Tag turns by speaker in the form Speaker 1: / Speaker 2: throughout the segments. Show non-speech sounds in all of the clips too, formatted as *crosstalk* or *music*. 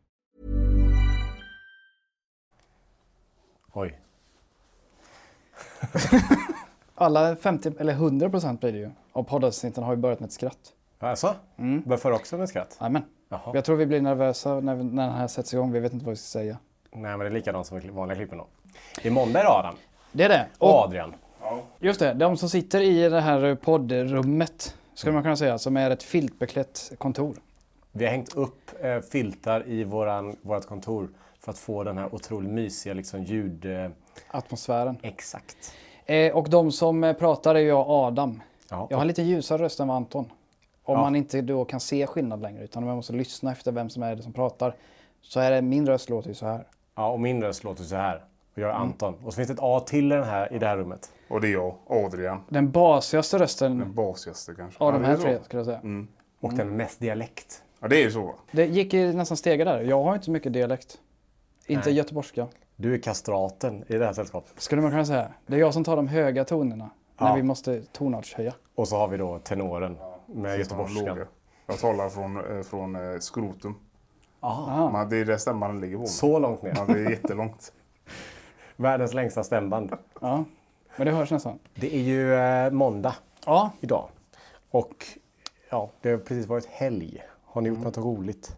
Speaker 1: Oj.
Speaker 2: Alla 50, eller 100 procent blir det ju, av poddavsnitten har ju börjat med ett skratt.
Speaker 1: Alltså? Varför också med skratt?
Speaker 2: Amen.
Speaker 1: Jaha.
Speaker 2: Jag tror vi blir nervösa när, vi, när den här sätts igång. Vi vet inte vad vi ska säga.
Speaker 1: Nej, men det är likadant som i vanliga klippen då. Det är måndag idag Adam.
Speaker 2: Det är det.
Speaker 1: Och
Speaker 2: Och
Speaker 1: Adrian.
Speaker 2: just det, de som sitter i det här poddrummet, skulle man kunna säga, som är ett filtbeklätt kontor.
Speaker 1: Vi har hängt upp eh, filtar i våran, vårt kontor för att få den här otroligt mysiga liksom, ljud... Eh,
Speaker 2: Atmosfären.
Speaker 1: exakt.
Speaker 2: Eh, och de som eh, pratar är jag, Adam.
Speaker 1: Ja.
Speaker 2: Jag har lite ljusare röst än vad Anton. Om man inte då kan se skillnad längre, utan om man måste lyssna efter vem som är det som pratar, så är det, min röst låter ju så här.
Speaker 1: ja, och min röst låter så här. Och jag är Anton. Och så finns det ett A till i den här, i det här rummet.
Speaker 3: Och det är jag, Adrian.
Speaker 2: Den basigaste rösten
Speaker 3: Den basigaste kanske.
Speaker 2: av de
Speaker 3: det
Speaker 2: här
Speaker 3: är så.
Speaker 2: tre, skulle jag säga.
Speaker 1: Och den mest dialekt.
Speaker 3: Ja, det är ju så. va?
Speaker 2: Det gick ju nästan stega där. Jag har inte så mycket dialekt. Inte göteborgska.
Speaker 1: Du är kastraten i det här sällskapet.
Speaker 2: Skulle man kunna säga. Det är jag som tar de höga tonerna. När
Speaker 1: Ja.
Speaker 2: vi måste tonartshöja.
Speaker 1: Och så har vi då tenoren med göteborgskan.
Speaker 3: Låga. Jag talar från, eh, från eh, skrotum.
Speaker 1: Aha.
Speaker 3: Men det är där stämman ligger på.
Speaker 1: Så långt ner.
Speaker 3: Ja, det är jättelångt.
Speaker 1: Världens längsta stämband.
Speaker 2: Ja. Men det hörs nästan.
Speaker 1: Det är ju eh, måndag.
Speaker 2: Ja.
Speaker 1: idag. Och ja, det har precis varit helg. Har ni gjort något roligt?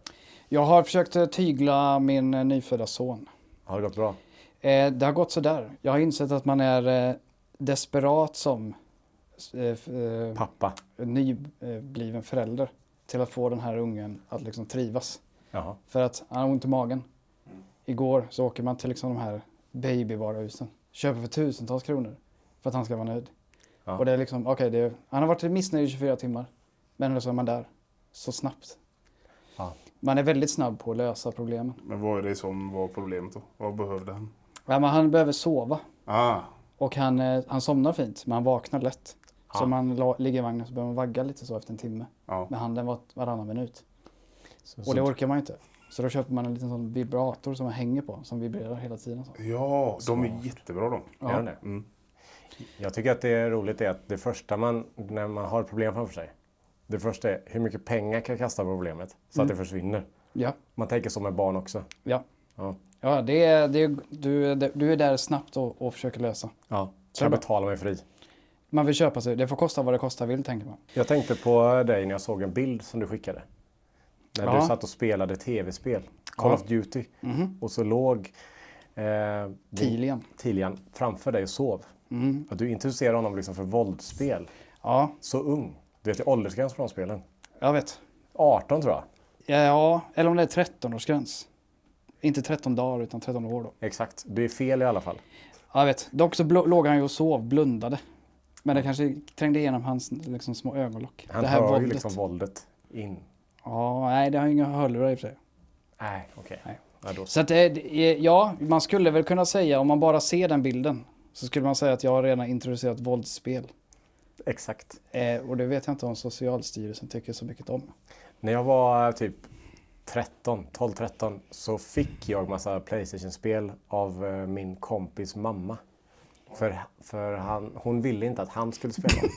Speaker 2: Jag har försökt eh, tygla min eh, nyfödda son.
Speaker 1: Har det gått bra?
Speaker 2: Eh, det har gått sådär. Jag har insett att man är eh, desperat som eh, f- eh,
Speaker 1: Pappa?
Speaker 2: nybliven förälder. Till att få den här ungen att liksom trivas.
Speaker 1: Jaha.
Speaker 2: För att han har ont i magen. Igår så åker man till liksom de här babyvaruhusen. Köper för tusentals kronor. För att han ska vara nöjd.
Speaker 1: Ja.
Speaker 2: Och det är liksom, okej, det är- han har varit missnöjd i 24 timmar. Men ändå så är man där. Så snabbt.
Speaker 1: Ja.
Speaker 2: Man är väldigt snabb på att lösa problemen.
Speaker 3: Men vad är det som var problemet då? Vad behövde han?
Speaker 2: Ja, men han behöver sova.
Speaker 3: Ah,
Speaker 2: Och han, eh, han somnar fint, men han vaknar lätt. Så om han la, ligger i vagnen så behöver man vagga lite så efter en timme.
Speaker 3: ja.
Speaker 2: Med handen var, varannan minut.
Speaker 1: Så,
Speaker 2: Och
Speaker 1: så,
Speaker 2: det orkar man ju inte. Så då köper man en liten sån vibrator som man hänger på, som vibrerar hela tiden. Så.
Speaker 3: Ja, de är jättebra de.
Speaker 1: gör det? Mm. Jag tycker att det är roligt är att det första man, när man har ett problem framför sig. Det första är hur mycket pengar kan jag kasta på problemet så att det försvinner.
Speaker 2: Ja,
Speaker 1: Man tänker så med barn också.
Speaker 2: ja.
Speaker 1: Ja.
Speaker 2: Ja, det är, det är, du, är- du är där snabbt och, och försöker lösa.
Speaker 1: ja. Kan jag betala mig fri?
Speaker 2: Man vill köpa sig, det får kosta vad det kostar vill tänker man.
Speaker 1: Jag tänkte på dig när jag såg en bild som du skickade. När
Speaker 2: Ja. Mhm.
Speaker 1: du satt och spelade tv-spel, Call of Duty. Och så låg eh, din-
Speaker 2: Tilian. Mhm.
Speaker 1: Tilian framför dig och sov. Att du introducerade honom liksom för våldsspel.
Speaker 2: Ja,
Speaker 1: Så ung. Du vet, det är åldersgräns för de spelen.
Speaker 2: jag vet.
Speaker 1: 18 tror jag.
Speaker 2: Ja, eller om det är 13-årsgräns. Inte 13 dagar utan 13 år då.
Speaker 1: Exakt. Du är fel i alla fall.
Speaker 2: Ja, jag vet. Dock så bl- låg han ju och sov, blundade. Men det kanske trängde igenom hans liksom, små ögonlock.
Speaker 1: Han
Speaker 2: det här
Speaker 1: hör
Speaker 2: våldet.
Speaker 1: ju liksom våldet in.
Speaker 2: Ja, nej, det har ju inga hörlurar i och för sig.
Speaker 1: Nej, okej. Ja, då.
Speaker 2: Så att, eh, det är- ja, man skulle väl kunna säga, om man bara ser den bilden, så skulle man säga att jag har redan introducerat våldsspel.
Speaker 1: Exakt.
Speaker 2: Eh, och det vet jag inte om Socialstyrelsen tycker så mycket om.
Speaker 1: När jag var typ 13, 12-13 så fick jag massa Playstation-spel av eh, min kompis mamma. För, för han, hon ville inte att han skulle spela
Speaker 3: *laughs*
Speaker 1: dem.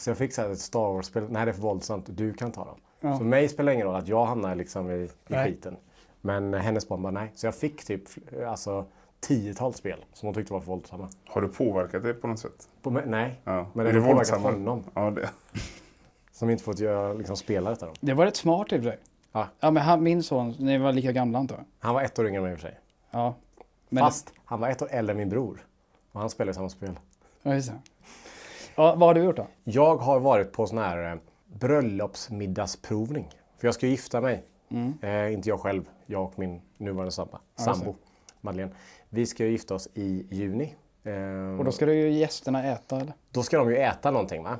Speaker 1: Så jag fick så här ett Star Wars-spel. Nej, det är för våldsamt. Du kan ta dem. Så mig spelar det ingen roll att jag hamnar liksom i, i
Speaker 2: Nej.
Speaker 1: skiten. Men hennes barn bara nej. Så jag fick typ eh, alltså, tiotals spel som hon tyckte var för våldsamma.
Speaker 3: Har du påverkat det på något sätt?
Speaker 1: På, mig- nej,
Speaker 3: Ja.
Speaker 1: men
Speaker 3: Är
Speaker 1: det
Speaker 3: det
Speaker 1: har påverkat
Speaker 3: våldsammare?
Speaker 1: honom.
Speaker 3: Ja, det. *laughs*
Speaker 1: Som inte fått göra, liksom, spela detta. Då.
Speaker 2: Det var rätt smart i och för sig.
Speaker 1: Va?
Speaker 2: Ja, men han, min son, ni var lika gamla antar jag?
Speaker 1: Han var ett år yngre än mig i och för sig.
Speaker 2: Ja. Men,
Speaker 1: Fast han var ett år äldre än min bror. Och han spelade samma spel.
Speaker 2: Ja, just det. Ja, vad har du gjort då?
Speaker 1: Jag har varit på sån här eh, bröllopsmiddagsprovning. För jag ska ju gifta mig.
Speaker 2: Mm.
Speaker 1: Eh, inte jag själv, jag och min nuvarande sambo, sambo Madeleine. Vi ska ju gifta oss i juni. Eh,
Speaker 2: Och då ska du ju gästerna äta eller?
Speaker 1: då ska de ju äta någonting. Va?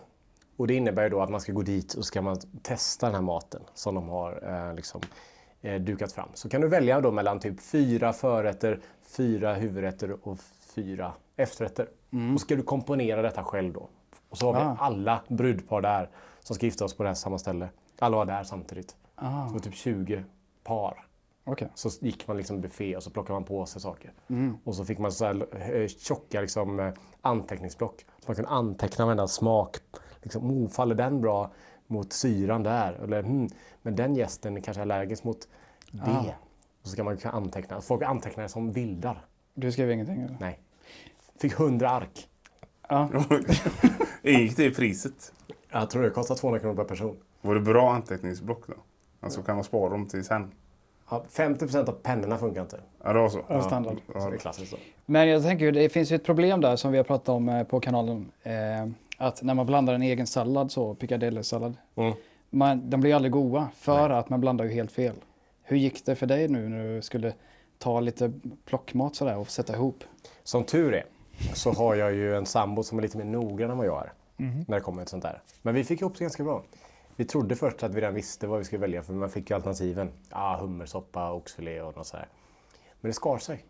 Speaker 1: Och det innebär ju då att man ska gå dit och ska man testa den här maten som de har eh, liksom, eh, dukat fram. Så kan du välja då mellan typ fyra förrätter, fyra huvudrätter och fyra efterrätter. Och ska du komponera detta själv då. Och så har vi alla brudpar där som ska gifta oss på det här samma ställe. Alla var där samtidigt. Så det var typ 20 par.
Speaker 2: Okej.
Speaker 1: Så gick man liksom buffé och så plockade man på sig saker. Och så fick man så här eh, tjocka liksom eh, anteckningsblock. Så man kunde anteckna varenda smak. Liksom, oh, faller den bra mot syran där? Eller, hmm, men den gästen är kanske allergisk mot det. Och så kan man kunna anteckna. Folk antecknade som vildar.
Speaker 2: Du skrev ingenting eller?
Speaker 1: Nej. Fick 100 ark.
Speaker 3: Ingick det i priset?
Speaker 1: Jag tror det kostar 200 kronor per person.
Speaker 3: Var det bra anteckningsblock då? Alltså kan man spara dem till sen?
Speaker 1: Ja, 50 av pennorna funkar inte.
Speaker 3: Ja, det var så.
Speaker 2: Ja, standard.
Speaker 1: Så det är klassiskt. så.
Speaker 2: Men jag tänker ju, det finns ju ett problem där som vi har pratat om eh, på kanalen. Eh, att när man blandar en egen sallad så, piccadilly-sallad,
Speaker 1: Mm.
Speaker 2: man, de blir ju aldrig goda för att man blandar ju helt fel. Hur gick det för dig nu när du skulle ta lite plockmat sådär och sätta ihop?
Speaker 1: Som tur är så har jag ju en sambo som är lite mer noggrann än vad jag är när det kommer till sånt där. Men vi fick ihop det ganska bra. Vi trodde först att vi redan visste vad vi skulle välja för man fick ju alternativen. Ah, hummersoppa, oxfilé och något sådär. Men det skar sig.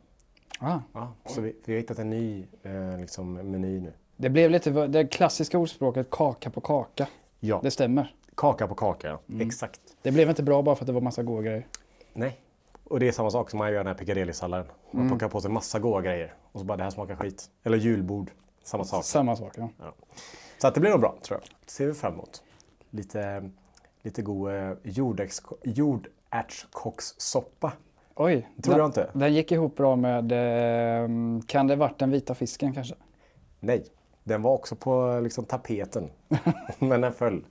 Speaker 2: Ah,
Speaker 1: Ja, så vi, vi har hittat en ny eh, liksom, meny nu.
Speaker 2: det blev lite, vad- det klassiska ordspråket kaka på kaka.
Speaker 1: Ja,
Speaker 2: Det stämmer.
Speaker 1: kaka på kaka. ja. Exakt.
Speaker 2: Det blev inte bra bara för att det var massa goda grejer.
Speaker 1: Nej. Och det är samma sak som man gör den här piccadilly-salladen. Man plockar på sig massa goda grejer och så bara det här smakar skit. Eller julbord. Samma sak.
Speaker 2: Samma sak ja.
Speaker 1: Så att det blir nog bra, tror jag. Det ser vi fram emot. Lite, lite god eh, jordärtsko- jordärtskockssoppa.
Speaker 2: Oj,
Speaker 1: Tror
Speaker 2: den,
Speaker 1: jag inte.
Speaker 2: den gick ihop bra med, eh, kan det varit den vita fisken kanske?
Speaker 1: Nej, den var också på eh, liksom,
Speaker 2: *laughs*
Speaker 1: tapeten. men den föll.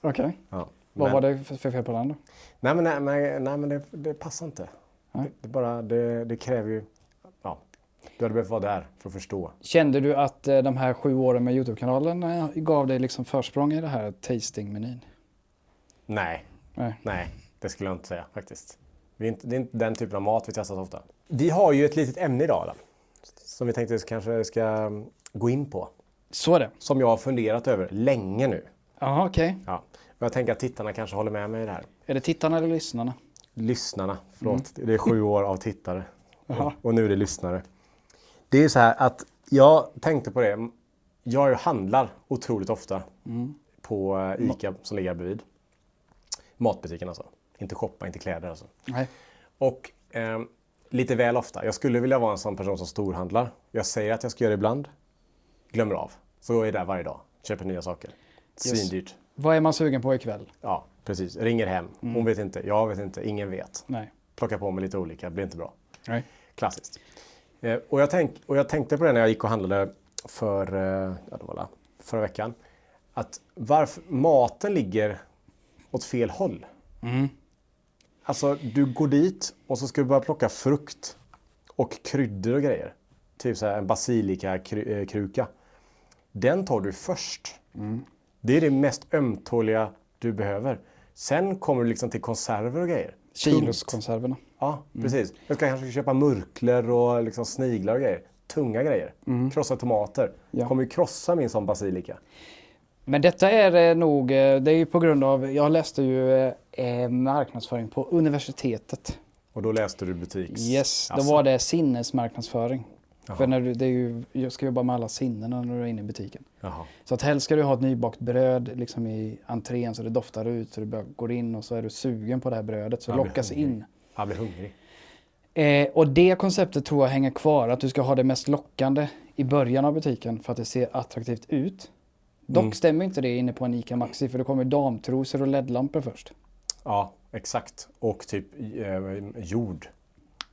Speaker 2: Okej.
Speaker 1: Ja.
Speaker 2: Vad
Speaker 1: men,
Speaker 2: var det för för fel på den då?
Speaker 1: Nej, men, nej, men, nej, men det, det passar inte. Det, det, bara, det, det kräver ju... Ja, du hade behövt vara där för att förstå.
Speaker 2: Kände du att eh, de här sju åren med Youtube-kanalen eh, gav dig liksom försprång i det här tasting-menyn?
Speaker 1: Nej,
Speaker 2: Nej.
Speaker 1: nej, det skulle jag inte säga faktiskt. Vi är inte, det är inte den typen av mat vi testar så ofta. Vi har ju ett litet ämne idag, Adam, som vi tänkte kanske ska mm, gå in på.
Speaker 2: Så är det.
Speaker 1: som jag har funderat över länge nu.
Speaker 2: Jaha, okej.
Speaker 1: Ja. Och jag tänker att tittarna kanske håller med mig i det här.
Speaker 2: Är det tittarna eller lyssnarna?
Speaker 1: Lyssnarna, förlåt. Det är sju år av tittare. Och, och nu är det lyssnare. Det är ju så här att jag tänkte på det. Jag handlar otroligt ofta på eh, ICA som ligger här bredvid. Matbutiken alltså. Inte shoppa, inte kläder alltså.
Speaker 2: Nej.
Speaker 1: Och ehm, lite väl ofta. Jag skulle vilja vara en sån person som storhandlar. Jag säger att jag ska göra det ibland. Glömmer av. Så jag är där varje dag. Köper nya saker. Svindyrt.
Speaker 2: Vad är man sugen på ikväll?
Speaker 1: Ja, precis. Ringer hem. Hon vet inte, jag vet inte, ingen vet.
Speaker 2: Nej.
Speaker 1: Plockar på mig lite olika, blir inte bra.
Speaker 2: Nej.
Speaker 1: Klassiskt. Eh, och, jag tänk, och jag tänkte på det när jag gick och handlade för, eh, ja, det var la- förra veckan. Att varför maten ligger åt fel håll. Alltså, du går dit och så ska du börja plocka frukt och kryddor och grejer. Typ så här en basilikakruka. Den tar du först. Det är det mest ömtåliga du behöver. Sen kommer du liksom till konserver och grejer.
Speaker 2: Kiloskonserverna.
Speaker 1: Ja,
Speaker 2: Mm.
Speaker 1: precis. Jag ska kanske köpa murklor och liksom sniglar och grejer. Tunga grejer. Krossade tomater.
Speaker 2: Mm. Ja.
Speaker 1: Kommer ju krossa min sån basilika.
Speaker 2: Men detta är eh, nog, eh, det är ju på grund av, jag läste ju eh, eh, marknadsföring på universitetet.
Speaker 1: Och då läste du butiks...
Speaker 2: Yes, då
Speaker 1: Alltså,
Speaker 2: var det sinnesmarknadsföring. För när du, det är ju, jag ska jobba med alla sinnena när du är inne i butiken.
Speaker 1: Jaha.
Speaker 2: Så att helst ska du ha ett nybakt bröd liksom i entrén så det doftar ut. Så du bara går in och så är du sugen på det här brödet. Så
Speaker 1: blir
Speaker 2: lockas in.
Speaker 1: Jag blir hungrig.
Speaker 2: Eh, och det konceptet tror jag hänger kvar. Att du ska ha det mest lockande i början av butiken för att det ser attraktivt ut. Dock stämmer inte det inne på en ICA Maxi för då kommer damtrosor och LED-lampor först.
Speaker 1: Ja, exakt. Och typ eh, jord.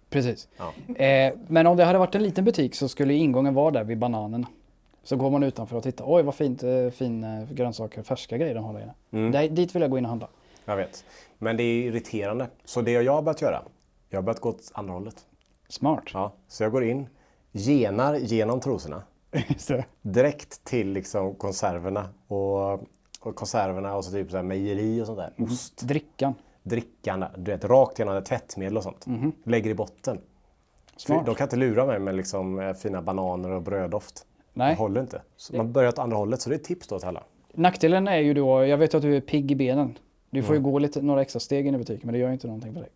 Speaker 2: Precis. Eh, men om det hade varit en liten butik så skulle ingången vara där vid bananerna. Så går man utanför och tittar. Oj vad fint, eh, fin eh, grönsaker, färska grejer de har där inne. Där, dit vill jag gå in och handla.
Speaker 1: Jag vet. Men det är irriterande. Så det jag har börjat göra, jag har börjat gå åt andra hållet.
Speaker 2: Smart.
Speaker 1: Ja. Så jag går in, genar genom trosorna.
Speaker 2: *laughs* Just det.
Speaker 1: direkt till liksom konserverna och, och konserverna och så typ så här mejeri och sånt där.
Speaker 2: Mm.
Speaker 1: Ost,
Speaker 2: Drickan.
Speaker 1: drickan, där, du vet rakt genom det, tvättmedel och sånt. Lägger i botten.
Speaker 2: Mhm. Smart.
Speaker 1: De kan inte lura mig med liksom eh, fina bananer och bröddoft.
Speaker 2: Nej.
Speaker 1: Det håller inte. Så man börjar åt andra hållet, så det är ett tips då till alla.
Speaker 2: Nackdelen är ju då, jag vet att du är pigg i benen. Du får ju gå lite, några extra steg in i butiken men det gör ju inte någonting för dig.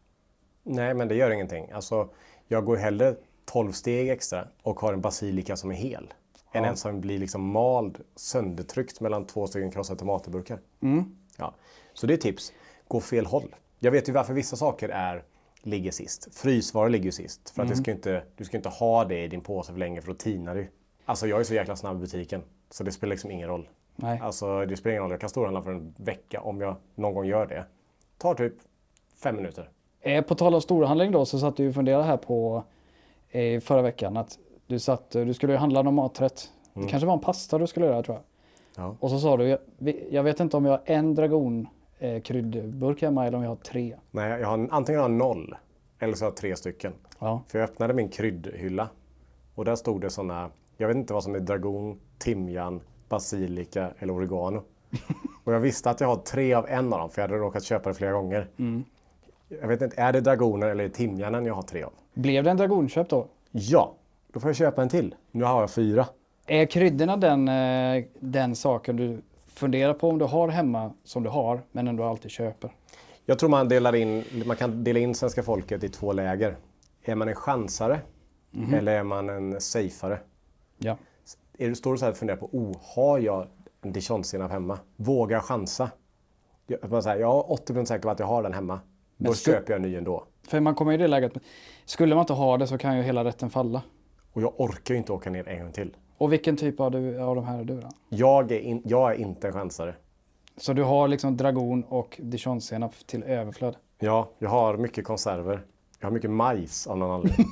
Speaker 1: Nej, men det gör ingenting. Alltså, jag går hellre 12 steg extra och har en basilika som är hel. Än en som blir liksom mald, söndertryckt mellan två stycken krossade tomatburkar. Ja. Så det är tips. Gå fel håll. Jag vet ju varför vissa saker är, ligger sist. Frysvaror ligger ju sist. För att det ska ju inte, du ska ju inte ha det i din påse för länge för då tinar det ju. Alltså jag är så jäkla snabb i butiken. Så det spelar liksom ingen roll.
Speaker 2: Nej.
Speaker 1: Alltså det spelar ingen roll. Jag kan storhandla för en vecka om jag någon gång gör det. Tar typ fem minuter.
Speaker 2: Eh, på tal om storhandling då så satt du och funderade här på eh, förra veckan att du, satt, du skulle ju handla någon maträtt. Det kanske var en pasta du skulle göra tror jag.
Speaker 1: Ja.
Speaker 2: Och så sa du, jag, vi- jag vet inte om jag har en dragon eh, kryddburk hemma eller om jag har tre.
Speaker 1: Nej, jag har, antingen har jag noll eller så har jag tre stycken.
Speaker 2: Ja.
Speaker 1: För jag öppnade min kryddhylla och där stod det såna, jag vet inte vad som är dragon, timjan, basilika eller oregano. och jag visste att jag har tre av en av dem för jag hade råkat köpa det flera gånger. Jag vet inte, är det dragoner eller är det timjanen jag har tre av?
Speaker 2: Blev det en dragonköp då?
Speaker 1: Ja, då får jag köpa en till. Nu har jag fyra.
Speaker 2: Är kryddorna den, eh, den saken du funderar på om du har hemma som du har men ändå alltid köper?
Speaker 1: Jag tror man, delar in, man kan dela in svenska folket i två läger. Är man en chansare eller är man en safeare?
Speaker 2: Ja.
Speaker 1: Är du, står du så här och funderar på, oh, har jag en dijonsenap hemma? Vågar jag chansa? Jag, man säger, jag är 80 säker på att jag har den hemma. Då
Speaker 2: sku-
Speaker 1: köper jag en ny ändå.
Speaker 2: För man kommer i det läget. Skulle man inte ha det så kan ju hela rätten falla.
Speaker 1: Och jag orkar ju inte åka ner en gång till.
Speaker 2: Och vilken typ av, du, av de här är du då?
Speaker 1: Jag är, in, jag är inte en chansare.
Speaker 2: Så du har liksom dragon och dijonsenap till överflöd.
Speaker 1: Ja, jag har mycket konserver. Jag har mycket majs av någon *laughs* anledning.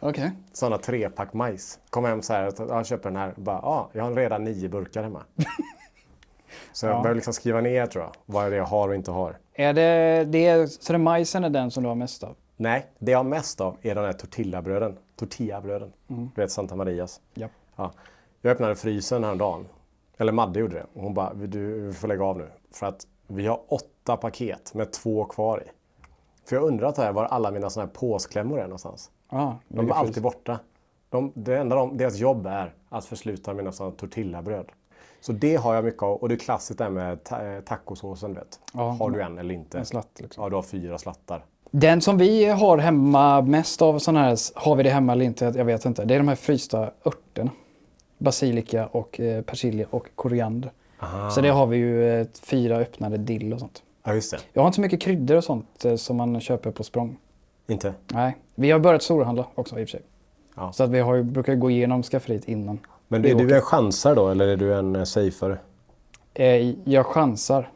Speaker 2: Okej.
Speaker 1: Sådana trepack majs. Kom hem så här, jag tar- jag köper den här. Bara, ah, jag har redan nio burkar *laughs* hemma. så jag behöver liksom skriva ner tror jag, vad är det jag har och inte har.
Speaker 2: Är det, det är, så det är majsen är den som du har mest av?
Speaker 1: Nej, det jag har mest av är de här tortillabröden. Tortillabröden.
Speaker 2: Mm.
Speaker 1: Du vet Santa Marias.
Speaker 2: Ja.
Speaker 1: Ja. Jag öppnade frysen häromdagen. Eller Madde gjorde det. Och hon bara, du får lägga av nu. För att vi har åtta paket med två kvar i. För jag undrar här var alla mina såna här påsklämmor är någonstans.
Speaker 2: Ah,
Speaker 1: De är alltid borta. De, det enda de, deras jobb är att försluta mina såna tortillabröd. Så det har jag mycket av. Och det är klassiskt där med ta, eh, tacosåsen. Du vet.
Speaker 2: Ja,
Speaker 1: har du en eller inte?
Speaker 2: en slatt, liksom.
Speaker 1: Ja, du har fyra slattar.
Speaker 2: Den som vi har hemma mest av sådana här, har vi det hemma eller inte, jag vet inte. Det är de här frysta örterna. Basilika och eh, persilja och koriander. Så det har vi ju eh, fyra öppnade dill och sånt.
Speaker 1: Ja, just det.
Speaker 2: Jag har inte så mycket kryddor och sånt eh, som man köper på språng.
Speaker 1: Inte?
Speaker 2: Nej, vi har börjat storhandla också i och för sig.
Speaker 1: Ja.
Speaker 2: Så att vi har ju, brukar gå igenom skafferiet innan.
Speaker 1: Men
Speaker 2: vi
Speaker 1: är
Speaker 2: åker.
Speaker 1: du en chansare då eller är du en eh, safeare?
Speaker 2: Eh, jag chansar.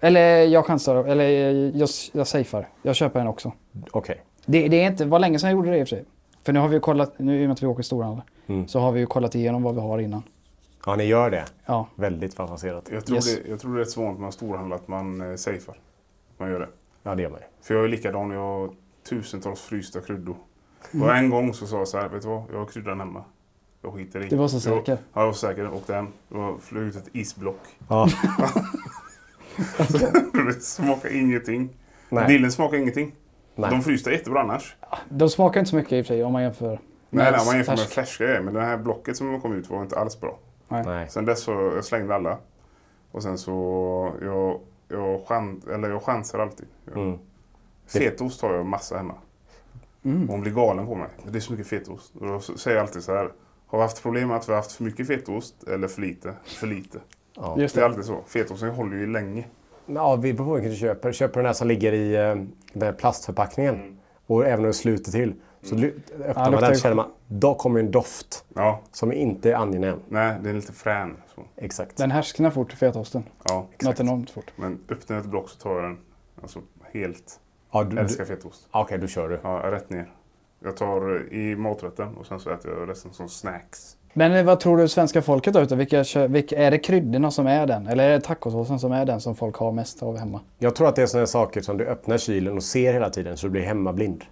Speaker 2: Eller jag chansar, eller eh, jag, jag safear. Jag köper en också.
Speaker 1: Okej.
Speaker 2: Det, det är inte, var länge sedan jag gjorde det i och för sig. För nu har vi ju kollat, nu i och med att vi åker storhandel, så har vi ju kollat igenom vad vi har innan.
Speaker 1: Ja, ni gör det.
Speaker 2: Ja,
Speaker 1: Väldigt favoriserat.
Speaker 3: Jag tror,
Speaker 2: Yes.
Speaker 3: det, jag tror det är rätt så vanligt med storhandlar att man eh, safear. Man gör det.
Speaker 1: Ja, det gör man ju.
Speaker 3: För jag är likadan, jag har tusentals frysta kryddor.
Speaker 2: Mm.
Speaker 3: Och en gång så sa jag så här, vet du vad? Jag har kryddan hemma. Jag skiter i.
Speaker 2: Du var så
Speaker 3: Jag-
Speaker 2: säker.
Speaker 3: Ja, jag var så säker. Åkte hem. Jag flög ut ett isblock.
Speaker 1: Ja.
Speaker 3: *laughs* det smakar ingenting.
Speaker 1: Nej.
Speaker 3: Dillen smakar ingenting.
Speaker 1: Nej.
Speaker 3: De frysta är jättebra annars.
Speaker 2: de smakar inte så mycket i och för sig om man jämför. med
Speaker 3: Nej, nej, man jämför med
Speaker 2: färsk.
Speaker 3: färska grejer. Men det här blocket som kom ut var inte alls bra.
Speaker 1: Nej.
Speaker 3: Sen dess så jag slängde alla. Och sen så jag, jag, chans, eller jag chansar alltid. Jag, Fetost har jag massa hemma. Och hon blir galen på mig. Det är så mycket fetost. Och då säger jag alltid så här. Har vi haft problem med att vi har haft för mycket fetost eller för lite? För lite.
Speaker 2: Just
Speaker 3: Det är
Speaker 2: det.
Speaker 3: alltid så. Fetosten håller ju länge.
Speaker 1: Ja, vi beror på vilken du köper. Köper du den här som ligger i eh, den här plastförpackningen och även om du sluter till så ly- öppnar man
Speaker 2: luktar
Speaker 1: den
Speaker 2: ju-
Speaker 1: så känner man då kommer en doft
Speaker 3: Ja,
Speaker 1: som inte är angenäm.
Speaker 3: nej, det är lite frän. Så.
Speaker 1: Exakt.
Speaker 2: Den härsknar fort, fetaosten.
Speaker 3: Ja,
Speaker 2: Något enormt fort.
Speaker 3: men öppnar jag ett block så tar jag den. Alltså helt.
Speaker 1: Ja, du, du,
Speaker 3: Älskar
Speaker 1: Okej,
Speaker 3: fetost.
Speaker 1: då kör du.
Speaker 3: Ja, rätt ner. Jag tar i maträtten och sen så äter jag resten som snacks.
Speaker 2: Men eh, vad tror du svenska folket då? utav Vilka, kö- vilka, är det kryddorna som är den? Eller är det tacosåsen som är den som folk har mest av hemma?
Speaker 1: Jag tror att det är sådana saker som du öppnar kylen och ser hela tiden så du blir hemmablind.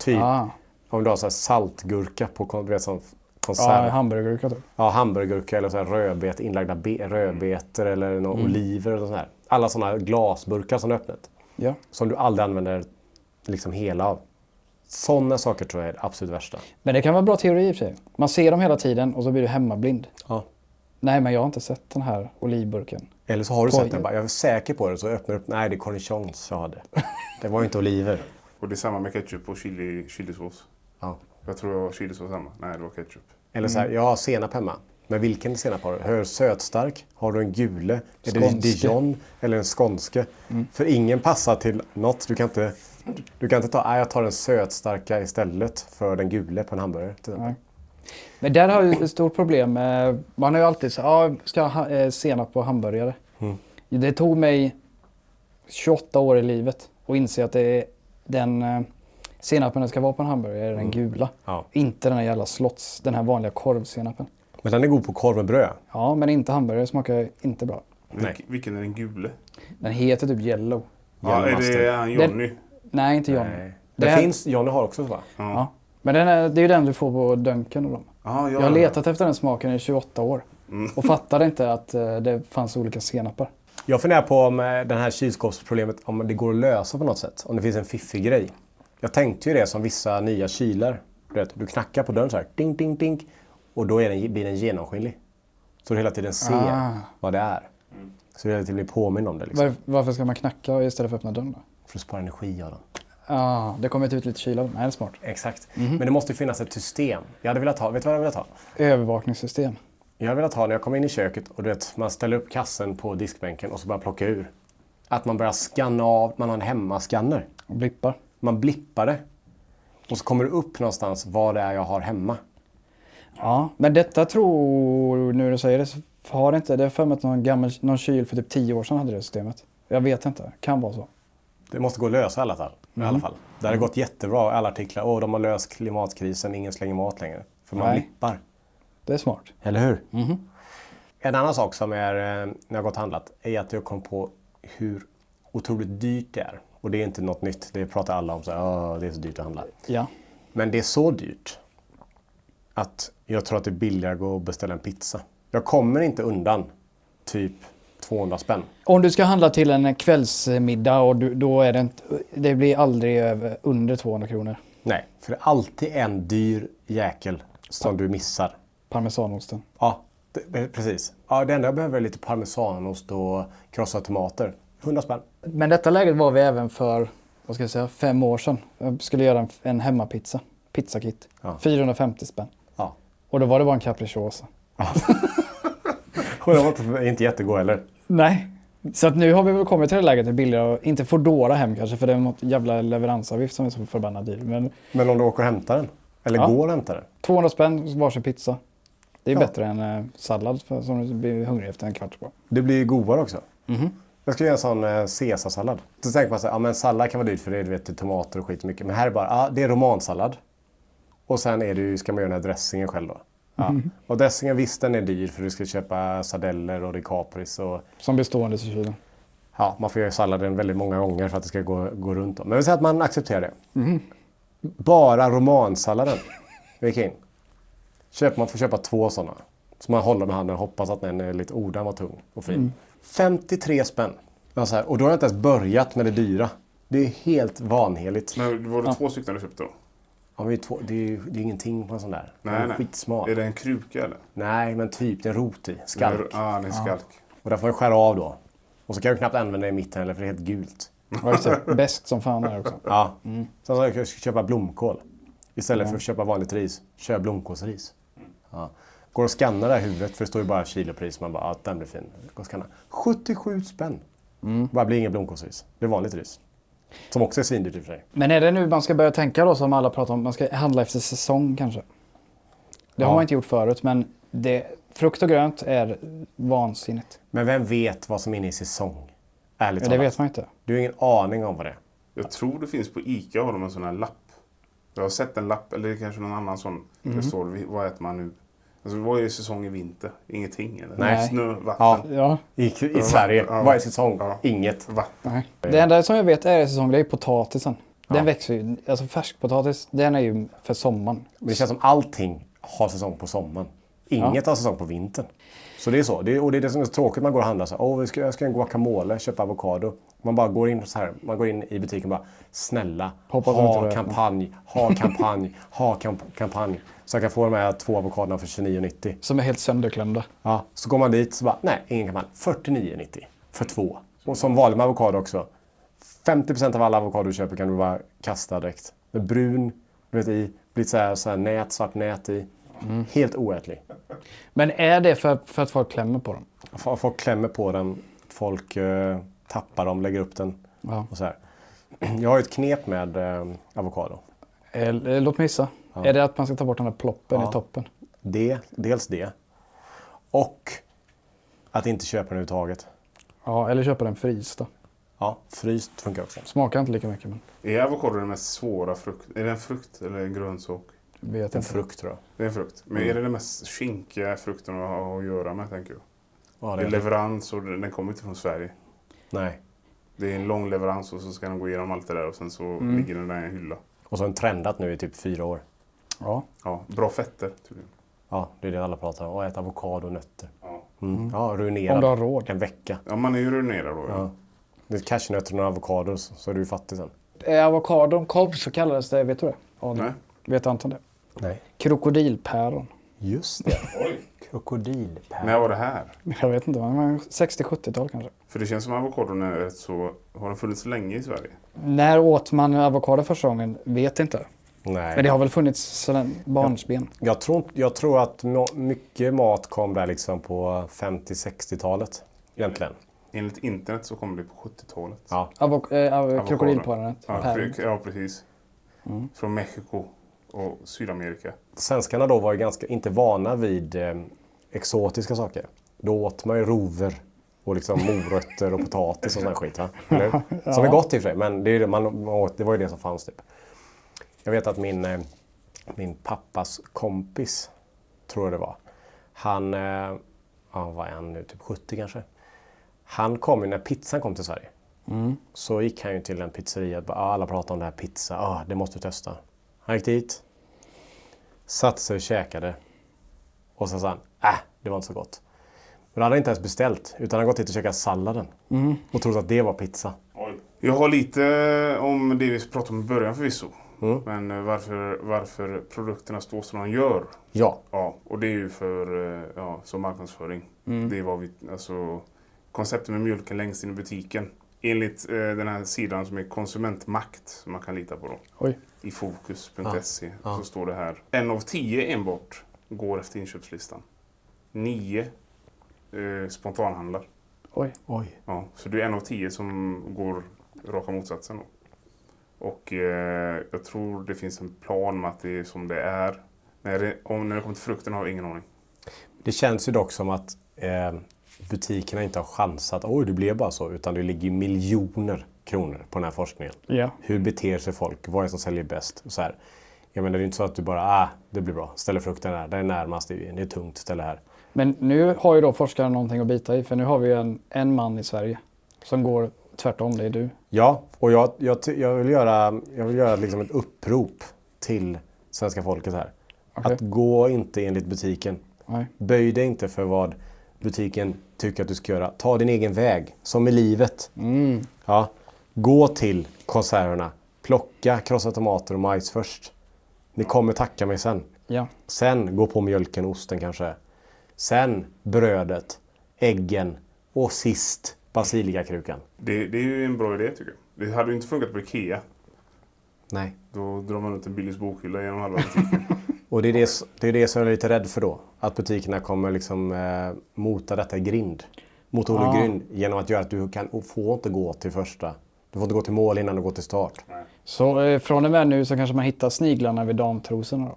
Speaker 1: Typ
Speaker 2: Ah.
Speaker 1: om du har så här saltgurka på kon- du vet, sån konserv.
Speaker 2: Ja, hamburgergurka typ.
Speaker 1: ja, hamburgergurka eller så här rödbet, inlagda be- rödbetor eller några oliver. Och sånt här. Alla sådana glasburkar som du öppnat.
Speaker 2: Ja.
Speaker 1: Som du aldrig använder liksom hela av. Sådana saker tror jag är det absolut värsta.
Speaker 2: Men det kan vara bra teori i och för sig. Man ser dem hela tiden och så blir du hemmablind. Nej, men jag har inte sett den här olivburken.
Speaker 1: Eller så har du
Speaker 2: Oj.
Speaker 1: sett den bara, jag är säker på det, så öppnar du upp. Nej, det är cornichons jag hade. Det var ju inte oliver.
Speaker 3: Och det är samma med ketchup och chili, chilisås.
Speaker 1: Ja.
Speaker 3: Jag tror jag har chilisås hemma. Nej, det var ketchup.
Speaker 1: Eller
Speaker 2: Mm.
Speaker 1: så här, jag har senap hemma. Men vilken senap har du? Har du sötstark? Har du en gule? Är det
Speaker 2: Skånske. Mm.
Speaker 1: dijon? Eller en skånske? För ingen passar till något. Du kan inte, du kan inte ta, nej jag tar den sötstarka istället för den gule på en hamburgare. Till exempel.
Speaker 2: Nej. Men där har jag ett stort problem. eh, Man har ju alltid så ja, ska jag ha eh, senap på hamburgare. Det tog mig 28 år i livet att inse att det är den eh, senapen det ska vara på en hamburgare är den gula.
Speaker 1: Ja.
Speaker 2: Inte den här jävla slotts, den här vanliga korvsenapen.
Speaker 1: Men den är god på korv med bröd.
Speaker 2: Ja, men inte hamburgare smakar inte bra.
Speaker 1: Nej.
Speaker 3: Vilk, vilken är den gule?
Speaker 2: Den heter typ yellow.
Speaker 3: Ja, är
Speaker 1: Master.
Speaker 3: det han Johnny?
Speaker 2: Nej, inte Johnny.
Speaker 1: Det,
Speaker 2: Det här-
Speaker 1: finns, Johnny har också va?
Speaker 2: Ja. Men den är, det är ju den du får på Dunken och dem.
Speaker 3: Ja,
Speaker 2: Jag har letat efter den smaken i 28 år och fattade inte att eh, det fanns olika senapar.
Speaker 1: Jag funderar på om eh, det här kylskåpsproblemet, om det går att lösa på något sätt. Om det finns en fiffig grej. Jag tänkte ju det som vissa nya kylar. Du, vet, du knackar på dörren så här, ding, ding, ding. Och då är den, blir den genomskinlig. Så du hela tiden ser
Speaker 2: Ah.
Speaker 1: vad det är. Så du hela tiden blir påmind om det. Liksom,
Speaker 2: Var, varför ska man knacka istället för att öppna dörren då?
Speaker 1: för att spara energi av dem.
Speaker 2: Ah, det kommer inte ut lite kyla. Nej, det är smart.
Speaker 1: Exakt. Men det måste ju finnas ett system. Jag hade velat ha, vet du vad jag hade velat ha?
Speaker 2: Övervakningssystem.
Speaker 1: Jag hade velat ha när jag kommer in i köket och du vet, man ställer upp kassen på diskbänken och så börjar plocka ur. Att man börjar scanna av, man har en hemmaskanner.
Speaker 2: Och blippar.
Speaker 1: Man blippar det. Och så kommer det upp någonstans vad det är jag har hemma.
Speaker 2: Ja, men detta tror, nu när du säger det, så har det inte. Det är för mig att någon, gammal, någon kyl för typ 10 år sedan hade det systemet. Jag vet inte. Kan vara så.
Speaker 1: Det måste gå att lösa i alla fall. I alla fall. Det hade gått jättebra. Alla artiklar. Åh, de har löst klimatkrisen. Ingen slänger mat längre. För man
Speaker 2: Nej.
Speaker 1: blippar.
Speaker 2: Det är smart.
Speaker 1: Eller hur? En annan sak som är, eh, när jag har gått och handlat, är att jag kom på hur otroligt dyrt det är. Och det är inte något nytt. Det pratar alla om. Så här, "Åh, det är så dyrt att handla.
Speaker 2: Ja.
Speaker 1: Men det är så dyrt att jag tror att det är billigare att gå och beställa en pizza. Jag kommer inte undan typ 200 spänn.
Speaker 2: Om du ska handla till en kvällsmiddag och du, då är det inte, det blir aldrig över, under 200 kronor.
Speaker 1: Nej, för det är alltid en dyr jäkel som du missar.
Speaker 2: Parmesanosten.
Speaker 1: Ja, det, precis. Ja, det enda jag behöver är lite parmesanost och krossade tomater. 100 spänn.
Speaker 2: Men detta läget var vi även för, vad ska jag säga, fem år sedan. Jag skulle göra en, en hemmapizza. Pizzakit.
Speaker 1: Ja.
Speaker 2: 450 spänn.
Speaker 1: Ja. *laughs*
Speaker 2: Och då var det bara en capricciosa.
Speaker 1: Och de var inte, inte jättegoda heller.
Speaker 2: Nej. Så att nu har vi väl kommit till det läget att det är billigare att inte Foodora hem kanske för det är något jävla leveransavgift som är så förbannat dyr. Men
Speaker 1: Men om du åker och hämtar den. Eller
Speaker 2: Ja.
Speaker 1: går och hämtar den.
Speaker 2: 200 spänn varsin pizza. Det är bättre än eh, sallad för, som du blir hungrig efter en kvart på.
Speaker 1: Det blir ju godare också. Jag ska göra en sån eh, caesarsallad. Då tänker man så här, ja men sallad kan vara dyrt för det är du vet, tomater och skit mycket. Men här är bara, ja det är romansallad. Och sen är det ju, ska man göra den här dressingen själv då. Ja. Och dressingen visst den är dyr för du ska köpa sardeller och DiCapris och
Speaker 2: Som blir stående i kylen.
Speaker 1: ja, man får göra salladen väldigt många gånger för att det ska gå, gå runt. Då. Men vi säger att man accepterar det.
Speaker 3: Mm-hmm.
Speaker 1: Bara romansalladen gick in. Köp, man får köpa två sådana. Så man håller med handen och hoppas att den är lite oh, den var tung och fin.
Speaker 3: Mm.
Speaker 1: 53 spänn. Ja, så här, och då har jag inte ens börjat med det dyra. Det är helt vanheligt.
Speaker 3: Men var det två stycken du köpte då?
Speaker 1: Ja, men det, är två, det, är, ju- det är ingenting på en sån där. Den är Skitsmal.
Speaker 3: Är det en kruka eller?
Speaker 1: Nej, men typ. Det är rot i. Skalk.
Speaker 3: Ja, ah, det är skalk.
Speaker 1: Och där får jag skära av då. Och så kan jag knappt använda det i mitten heller för det är helt gult.
Speaker 2: Ja, just det. Bäst som fan där också.
Speaker 1: Ja. Mm. Sen så jag ska köpa blomkål. Istället för att köpa vanligt ris, kör jag blomkålsris. Ja. Går och skannar det här huvudet, för det står ju bara kilopris. Man bara, ja den blir fin. Går och skannar. 77 spänn.
Speaker 2: Mm.
Speaker 1: Bara blir inget blomkålsris. Det är vanligt ris. Som också är svindyrt i och för sig.
Speaker 2: Men är det nu man ska börja tänka då som alla pratar om, man ska handla efter säsong kanske? Det har man inte gjort förut men det, frukt och grönt är vansinnigt.
Speaker 1: Men vem vet vad som är inne i säsong? Ärligt
Speaker 2: Ja,
Speaker 1: talat.
Speaker 2: det vet man inte.
Speaker 1: Du har ingen aning om vad det är.
Speaker 3: Jag tror det finns på ICA har de en sån här lapp. Jag har sett en lapp, eller det är kanske någon annan sån. Där står det, vad äter man nu? Jag Alltså, det var ju säsong i vinter. Ingenting. Eller?
Speaker 2: Nej.
Speaker 3: Snö, vatten.
Speaker 1: Ja.
Speaker 2: Ja,
Speaker 1: I, i Sverige,
Speaker 3: Ja.
Speaker 1: varje säsong,
Speaker 3: Ja.
Speaker 1: inget.
Speaker 3: Vatten.
Speaker 2: nej. Det enda som jag vet är säsong, det är potatisen. Den
Speaker 1: Ja.
Speaker 2: växer ju, alltså färskpotatis, den är ju för sommaren.
Speaker 1: Men det känns som allting har säsong på sommaren. Inget har säsong på vintern. Så det är så. Det är, och det är det som är så tråkigt. Man går och handlar så här. Åh, vi ska, jag ska göra en guacamole, köpa avokado. Man bara går in så här. Man går in i butiken och bara. Snälla,
Speaker 2: Hoppas inte
Speaker 1: ha
Speaker 2: det.
Speaker 1: kampanj, ha kampanj, ha kamp- kampanj. Så jag kan få de här två avokadorna för 29,90.
Speaker 2: Som är helt sönderklämda.
Speaker 1: Ja, så går man dit så bara, nej, ingen kampanj. 49,90 för två. Och som vanligt med avokado också. 50 av alla avokado du köper kan du bara kasta direkt. Med brun, du vet i, lite så här, så här nät, svart nät i. Helt oätlig.
Speaker 2: Men är det för, för att folk klämmer på dem?
Speaker 1: F- Folk klämmer på den, folk eh, tappar dem, lägger upp den.
Speaker 2: Ja.
Speaker 1: Och så här. *clears throat* Jag har ju ett knep med eh, avokado.
Speaker 2: Eller, eh, låt mig gissa. Är det att man ska ta bort den där ploppen
Speaker 1: Ja.
Speaker 2: i toppen?
Speaker 1: Det, dels det. Och att inte köpa den överhuvudtaget.
Speaker 2: Ja, eller köpa den fryst då.
Speaker 1: Ja, fryst funkar också.
Speaker 2: Smakar inte lika mycket men
Speaker 3: Är avokado den mest svåra frukten? Är det en frukt eller en grönsak?
Speaker 2: vet
Speaker 1: En
Speaker 2: inte.
Speaker 1: frukt tror jag.
Speaker 3: Det är en frukt. Men
Speaker 1: Mm.
Speaker 3: är det den mest kinkiga frukten att ha att göra med tänker jag?
Speaker 1: Ja,
Speaker 3: Det
Speaker 1: det
Speaker 3: är
Speaker 1: är det.
Speaker 3: leverans och den den kommer inte från Sverige.
Speaker 1: Nej.
Speaker 3: Det är en lång leverans och så ska den gå igenom allt det där och sen så
Speaker 1: Mm.
Speaker 3: ligger den där i en hylla.
Speaker 1: Och så har den trendat nu i typ fyra år.
Speaker 2: Ja.
Speaker 3: Ja, bra fetter tydligen.
Speaker 1: Ja, det är det alla pratar om. Och äta avokado och nötter.
Speaker 3: Ja.
Speaker 1: Mm. Ja, ruinerad.
Speaker 2: Om du har råd.
Speaker 1: En vecka.
Speaker 3: Ja, man är ju ruinerad då.
Speaker 1: Ja.
Speaker 3: Ja.
Speaker 1: Det är cashewnötter och några avokados så är du fattig sen.
Speaker 2: Eh, Avokadon kom så kallades det, vet du det? Adrian?
Speaker 3: Nej.
Speaker 2: Vet Anton det?
Speaker 1: Nej.
Speaker 2: Krokodilpäron. *laughs*
Speaker 1: Just det. Krokodilpäron.
Speaker 3: När var det här?
Speaker 2: Jag vet inte, men 60-70-tal kanske.
Speaker 3: För det känns som avokadon är rätt så... Har den funnits länge i Sverige?
Speaker 2: När åt man avokado första gången? Vet inte.
Speaker 1: Nej.
Speaker 2: Men det har väl funnits sedan barnsben?
Speaker 1: jag, tror, inte- jag tror att ma- mycket mat kom där liksom på 50-60-talet. Egentligen.
Speaker 3: Enligt internet så kom det på 70-talet.
Speaker 1: Ja.
Speaker 2: Avok- eh, av-
Speaker 3: Avokado.
Speaker 2: Krokodilpäron.
Speaker 3: Ja,
Speaker 2: päron.
Speaker 3: pre- ja precis.
Speaker 1: Mm.
Speaker 3: Från Mexiko och Sydamerika.
Speaker 1: Svenskarna då var ju ganska, inte vana vid eh, exotiska saker. Då åt man ju rover och liksom morötter och potatis och sån här skit. Va? Eller? hur? Som är gott i och för sig, men det, är ju det, man, man åt, det var ju det som fanns. Typ. Jag vet att min, eh, min pappas kompis, tror jag det var, han, eh, ja, vad är han nu, typ 70 kanske? Han kom ju när pizzan kom till Sverige. Så gick han ju till en pizzeria och bara, ah, alla pratar om det här pizza, ah, det måste du testa. Han gick dit, satte sig och käkade. Och sen sa han, äh, det var inte så gott. Men han hade inte ens beställt, utan han hade gått dit och käkat salladen. Och trodde att det var pizza.
Speaker 3: Jag har lite om det vi pratade om i början förvisso. Men eh, varför, varför produkterna står som de gör.
Speaker 1: Ja,
Speaker 3: Ja, och det är ju för eh, ja, som marknadsföring. Det var vi, alltså, konceptet med mjölken längst in i butiken. Enligt eh, den här sidan som är konsumentmakt, som man kan lita på då,
Speaker 2: Oj.
Speaker 3: i fokus.se, E så står det här. En av tio enbart går efter inköpslistan. Nio eh, spontanhandlar.
Speaker 2: Oj.
Speaker 3: Ja, så det är en av tio som går raka motsatsen då. Och eh, jag tror det finns en plan med att det är som det är. När det, om, när det kommer till frukten har jag ingen aning.
Speaker 1: det känns ju dock som att eh, butikerna inte har chansat. Oj, det blev bara så. Utan det ligger ju miljoner kronor på den här forskningen.
Speaker 2: Ja.
Speaker 1: Hur beter sig folk? Vad är det som säljer bäst? Och Så här. Jag menar, det är ju inte så att du bara, ah, det blir bra. Ställer frukten där. Det är närmast. Det är det är tungt. Ställ det här.
Speaker 2: Men nu har ju då forskaren någonting att bita i, för nu har vi ju en, en man i Sverige som går tvärtom, det är du.
Speaker 1: Ja, och jag, jag, ty- jag vill göra, jag vill göra liksom ett upprop till svenska folket här.
Speaker 2: Okej.
Speaker 1: Att gå inte enligt butiken.
Speaker 2: Nej.
Speaker 1: Böj dig inte för vad butiken tycker att du ska göra. Ta din egen väg, som i livet. Ja. Gå till konserterna. Plocka krossade tomater och majs först. Ni kommer tacka mig sen.
Speaker 2: Ja.
Speaker 1: Sen gå på mjölken och osten kanske. Sen brödet, äggen och sist basilikakrukan.
Speaker 3: Det, det är ju en bra idé tycker jag. Det hade ju inte funkat på Ikea.
Speaker 1: Nej.
Speaker 3: Då drar man ut en Billys bokhylla genom halva butiken.
Speaker 1: Och det är det, det är det som jag är lite rädd för då. Att butikerna kommer liksom eh, mota detta i grind. Mot Olle grind genom att göra att du kan, och får inte gå till första. Du får inte gå till mål innan du går till start.
Speaker 2: Så eh, från och med nu så kanske man hittar sniglarna vid damtrosorna då?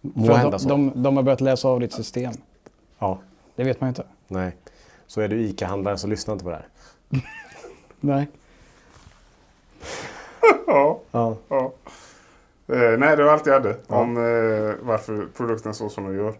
Speaker 1: Må
Speaker 2: För
Speaker 1: hända
Speaker 2: att
Speaker 1: så.
Speaker 2: de, de, de har börjat läsa av ditt system.
Speaker 1: Ja,
Speaker 2: Det vet man ju inte.
Speaker 1: nej. Så är du ICA-handlare så lyssna inte på det här.
Speaker 2: Nej.
Speaker 3: ja.
Speaker 1: Ja.
Speaker 3: ja. Eh, nej, det var allt jag hade om eh, varför produkten står som den gör.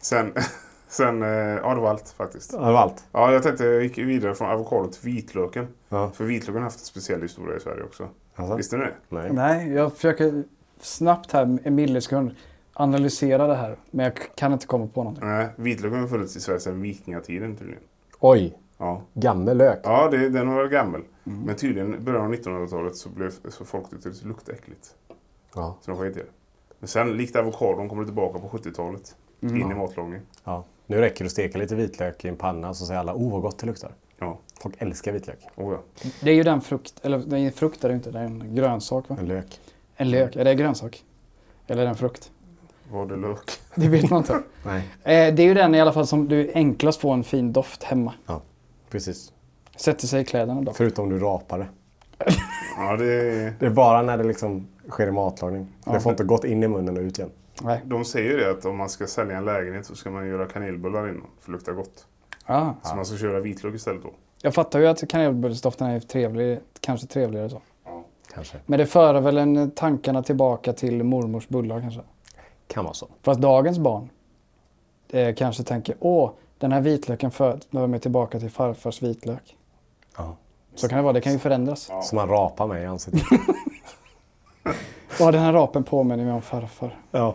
Speaker 3: Sen, *laughs* sen eh, ja det var allt faktiskt.
Speaker 1: Det var allt.
Speaker 3: Ja, jag tänkte jag gick vidare från avokado till vitlöken.
Speaker 1: Ja.
Speaker 3: För vitlöken har haft en speciell historia i Sverige också.
Speaker 1: Alltså?
Speaker 3: Visste ni det?
Speaker 1: Nej.
Speaker 2: Nej, jag försöker snabbt här, en millisekund, analysera det här. Men jag kan inte komma på någonting.
Speaker 3: Nej, vitlöken har funnits i Sverige sedan vikingatiden tydligen.
Speaker 1: Oj,
Speaker 3: Ja,
Speaker 1: gammel lök.
Speaker 3: ja det, den var gammal. Men tydligen i början av 1900-talet så, blev, så folk tyckte det luktade äckligt.
Speaker 1: Ja.
Speaker 3: Så de sket i det. Men sen, likt avokadon, kommer det tillbaka på 70-talet. In i matlagning.
Speaker 1: Ja. Nu räcker det att steka lite vitlök i en panna så säger alla oh vad gott det luktar.
Speaker 3: Ja,
Speaker 1: Folk älskar vitlök.
Speaker 3: oh, ja.
Speaker 1: Mm.
Speaker 2: Det är ju den frukt, eller nej, frukt är det inte, det är en grönsak va?
Speaker 1: En lök.
Speaker 2: En lök, är det en grönsak? Eller är det en frukt?
Speaker 3: Var det lök?
Speaker 2: Det vet man
Speaker 1: *laughs*
Speaker 2: inte.
Speaker 1: Nej.
Speaker 2: Eh, det är ju den i alla fall som du enklast får en fin doft hemma.
Speaker 1: Ja, precis.
Speaker 2: Sätter sig i kläderna då.
Speaker 1: Förutom du rapar det.
Speaker 3: Ja, det,
Speaker 1: Det är bara när det liksom sker i matlagning. Det får inte gått in i munnen och ut igen.
Speaker 2: Nej.
Speaker 3: de säger ju det att om man ska sälja en lägenhet så ska man göra kanelbullar innan. För det luktar gott.
Speaker 2: Ah.
Speaker 3: Så man ska köra vitlök istället då.
Speaker 2: Jag fattar ju att kanelbullsdoften är trevlig, kanske trevligare så.
Speaker 1: Kanske.
Speaker 2: Men det för väl en tankarna tillbaka till mormors bullar kanske.
Speaker 1: Kan vara så.
Speaker 2: Fast dagens barn eh, kanske tänker åh, den här vitlöken för mig tillbaka till farfars vitlök.
Speaker 1: Ja.
Speaker 2: Så kan det vara, det kan ju förändras.
Speaker 1: Så man rapar mig i ansiktet.
Speaker 2: Ja, den här rapen påminner mig om farfar.
Speaker 1: *laughs* ja.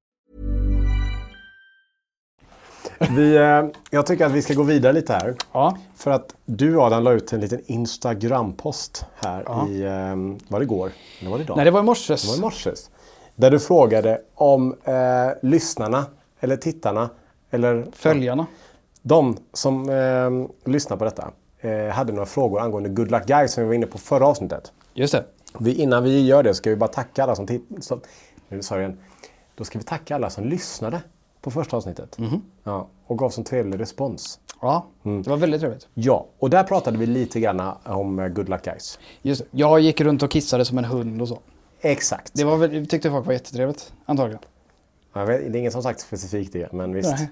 Speaker 1: Vi, eh, jag tycker att vi ska gå vidare lite här.
Speaker 2: Ja,
Speaker 1: För att du Adam la ut en liten Instagram-post här i, ehm, var det igår? Eller var det idag?
Speaker 2: nej det var i morse.
Speaker 1: Det var i morse. Där du frågade om eh, lyssnarna, eller tittarna, eller
Speaker 2: Följarna.
Speaker 1: de som eh, lyssnar på detta, eh, hade några frågor angående Good Luck Guys som vi var inne på förra avsnittet.
Speaker 2: Just det.
Speaker 1: Vi, innan vi gör det ska vi bara tacka alla som tittade. Nu sa jag igen. Då ska vi tacka alla som lyssnade på första avsnittet.
Speaker 2: Mhm.
Speaker 1: Ja, och gav sån trevlig respons.
Speaker 2: Ja, det var väldigt trevligt.
Speaker 1: Ja, och där pratade vi lite grann om eh, Good Luck Guys.
Speaker 2: Just det. Jag gick runt och kissade som en hund och så.
Speaker 1: Exakt.
Speaker 2: Det var väl, tyckte folk var jättetrevligt, antagligen.
Speaker 1: Jag vet, det är ingen som sagt specifikt det, men visst.
Speaker 2: Nej.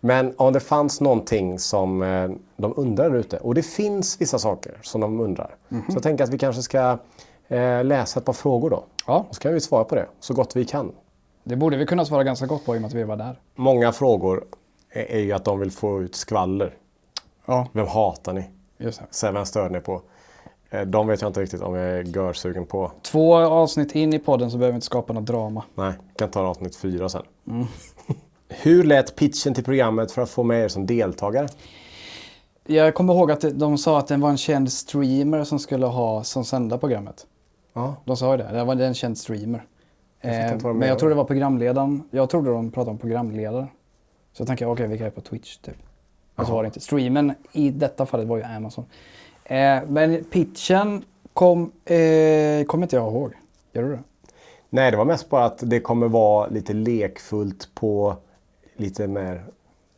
Speaker 1: Men om det fanns någonting som eh, de undrar ute. Och det finns vissa saker som de undrar.
Speaker 2: Mhm.
Speaker 1: Så jag tänker att vi kanske ska eh, läsa ett par frågor då.
Speaker 2: Ja.
Speaker 1: Och så kan vi svara på det så gott vi kan.
Speaker 2: Det borde vi kunna svara ganska gott på i och med att vi var där.
Speaker 1: Många frågor är, är ju att de vill få ut skvaller.
Speaker 2: Ja,
Speaker 1: Vem hatar ni?
Speaker 2: just det.
Speaker 1: Så här, Vem stör ni på? Eh, de vet jag inte riktigt om jag är görsugen på.
Speaker 2: Två avsnitt in i podden så behöver vi inte skapa något drama.
Speaker 1: Nej, kan ta avsnitt fyra sen. *laughs* Hur lät pitchen till programmet för att få med er som deltagare?
Speaker 2: Jag kommer ihåg att de sa att det var en känd streamer som skulle ha som sända programmet.
Speaker 1: Ja.
Speaker 2: De sa ju det, det var en känd streamer.
Speaker 1: fattar inte
Speaker 2: Eh,
Speaker 1: vad de
Speaker 2: men
Speaker 1: menar.
Speaker 2: jag tror det var programledaren. Jag trodde de pratade om programledaren. Så jag tänkte, okej vilka är på Twitch typ? Men så var det inte. Streamen i detta fallet var ju Amazon. Eh, men pitchen kom, eh, kommer inte jag ihåg. Gör du det?
Speaker 1: Nej, det var mest bara att det kommer vara lite lekfullt på lite mer...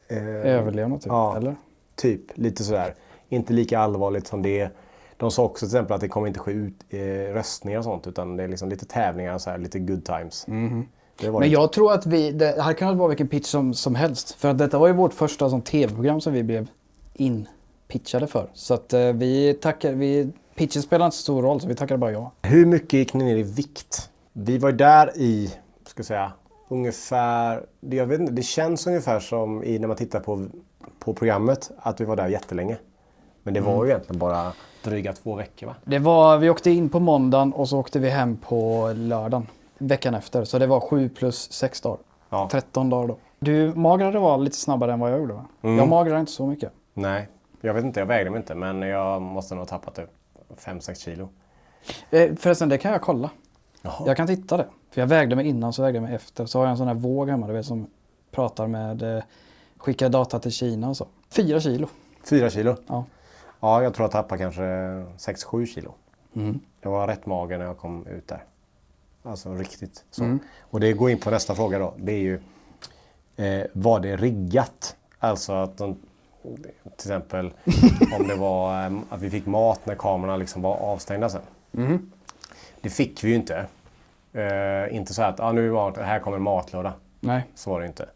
Speaker 1: Eh,
Speaker 2: Överlevnad typ,
Speaker 1: ja,
Speaker 2: eller?
Speaker 1: Typ, lite sådär. Inte lika allvarligt som det. De sa också till exempel att det kommer inte ske ut eh, röstningar och sånt utan det är liksom lite tävlingar och så här, lite good times. Det var
Speaker 2: Mhm. Men
Speaker 1: lite-
Speaker 2: jag tror att vi, det hade kunnat vara vilken pitch som, som helst. För att detta var ju vårt första som tv-program som vi blev inpitchade för. Så att eh, vi tackar, vi, pitchen spelar inte så stor roll så vi tackade bara ja.
Speaker 1: Hur mycket gick ni ner i vikt? Vi var ju där i, ska jag säga, ungefär... det- Jag vet inte, det känns ungefär som i, när man tittar på, på programmet att vi var där jättelänge. Men det var ju egentligen bara dryga två veckor va?
Speaker 2: Det var, vi åkte in på måndagen och så åkte vi hem på lördagen. veckan efter. Så det var 7 plus 6 dagar.
Speaker 1: Ja.
Speaker 2: 13 dagar då. Du magrade var lite snabbare än vad jag gjorde va? Jag magrade inte så mycket.
Speaker 1: Nej, jag vet inte. Jag vägde mig inte, men jag måste nog ha tappat typ 5-6 kilo.
Speaker 2: Eh, förresten, det kan jag kolla.
Speaker 1: Jaha.
Speaker 2: Jag kan titta det. För jag vägde mig innan så vägde jag mig efter. Så har jag en sån här våg hemma du vet, som pratar med, eh, skickar data till Kina och så. Fyra kilo.
Speaker 1: 4 kilo?
Speaker 2: Ja.
Speaker 1: Ja, jag tror jag tappade kanske 6-7 kilo. Jag var rätt mager när jag kom ut där. Alltså riktigt så. Och det går in på nästa fråga då. Det är ju, eh, var det riggat? Alltså att de, till exempel om det var eh, att vi fick mat när kamerorna liksom var avstängda sen. Det fick vi ju inte. Eh, inte så här att ah, nu är mat, här kommer en matlåda.
Speaker 2: Nej.
Speaker 1: Så var det inte.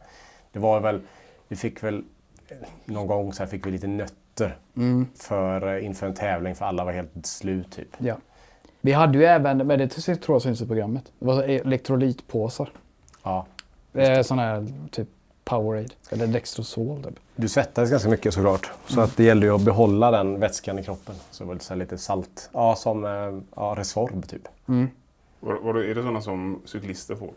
Speaker 1: Det var väl, vi fick väl eh, någon gång så här fick vi lite nötter för, eh, inför en tävling för alla var helt slut typ.
Speaker 2: Ja. Vi hade ju även, men det tror jag syns i programmet, det var e- elektrolytpåsar.
Speaker 1: Ja.
Speaker 2: Eh, sån här typ Powerade eller Dextrosol typ.
Speaker 1: Du svettades ganska mycket såklart. Så att det gällde ju att behålla den vätskan i kroppen. Så det var lite, så här, lite salt. Ja, som eh, ja, Resorb typ.
Speaker 3: Var, var det, är det sådana som cyklister får?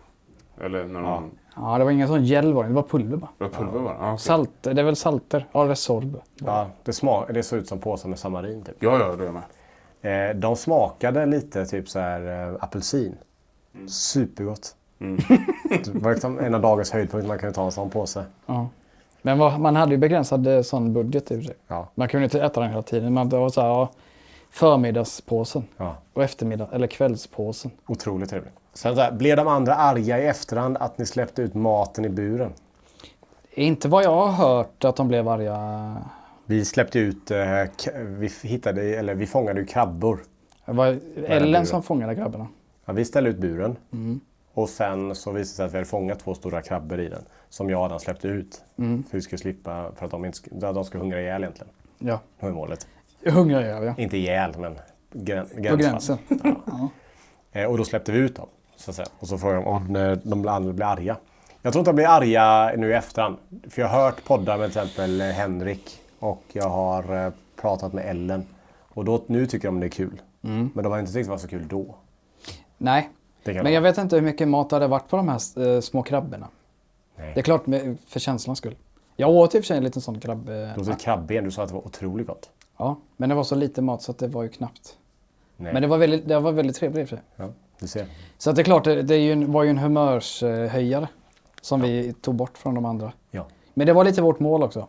Speaker 3: Eller när de...
Speaker 2: Ja, det var ingen sån gel var det, det var pulver bara.
Speaker 3: Det var pulver bara? Ja, okej.
Speaker 2: Salt, det är väl salter? Ja, Resorb.
Speaker 1: Ja, det, sma- det såg ut som påsar med samarin typ.
Speaker 3: Ja, ja, det är jag med.
Speaker 1: Eh, de smakade lite typ så här eh, apelsin. Supergott. *laughs* det var liksom en av dagens höjdpunkt. Man kan ju ta en sån påse.
Speaker 2: Ja. Men vad, man hade ju begränsad eh, sån budget i och för sig.
Speaker 1: Ja.
Speaker 2: Man kunde inte äta den hela tiden. Man, det var så här, ja, förmiddagspåsen
Speaker 1: Ja.
Speaker 2: och eftermiddag eller kvällspåsen.
Speaker 1: Otroligt trevligt. Sen så här, blev de andra arga i efterhand att ni släppte ut maten i buren?
Speaker 2: Inte vad jag har hört att de blev arga.
Speaker 1: Vi släppte ut, eh, k- vi, hittade, eller vi fångade ju krabbor.
Speaker 2: Det var
Speaker 1: buren.
Speaker 2: Ellen som fångade grabbarna.
Speaker 1: Ja, vi ställde ut buren och sen så visade det sig att vi hade fångat två stora krabbor i den som jag hade släppt ut. För vi skulle slippa, för att de, inte, sk- de skulle hungra ihjäl egentligen.
Speaker 2: Ja,
Speaker 1: Det var ju målet.
Speaker 2: hungrar jag ja.
Speaker 1: Inte ihjäl, men grän,
Speaker 2: På
Speaker 1: gränsfall.
Speaker 2: gränsen. *laughs*
Speaker 1: Eh, och då släppte vi ut dem. Så att säga. Och så frågade de om när de andra blir arga. Jag tror inte de blir arga nu i efterhand. För jag har hört poddar med till exempel eh, Henrik och jag har eh, pratat med Ellen. Och då, nu tycker de det är kul.
Speaker 2: Mm.
Speaker 1: Men de har inte tyckt det var så kul då.
Speaker 2: Nej,
Speaker 1: Det kan
Speaker 2: men
Speaker 1: vara.
Speaker 2: jag vet inte hur mycket mat det hade varit på de här eh, små krabborna.
Speaker 1: Nej.
Speaker 2: Det är klart med, för känslans skull. Jag åt i och för sig en liten sån krabb. eh,
Speaker 1: De åt krabben, du sa att det var otroligt gott.
Speaker 2: Ja, men det var så lite mat så att det var ju knappt.
Speaker 1: Nej.
Speaker 2: Men det var väldigt, det var väldigt trevligt i och för sig.
Speaker 1: Ja, du ser.
Speaker 2: Så att det är klart, det, det är ju en, var ju en humörshöjare som vi tog bort från de andra.
Speaker 1: Ja.
Speaker 2: Men det var lite vårt mål också.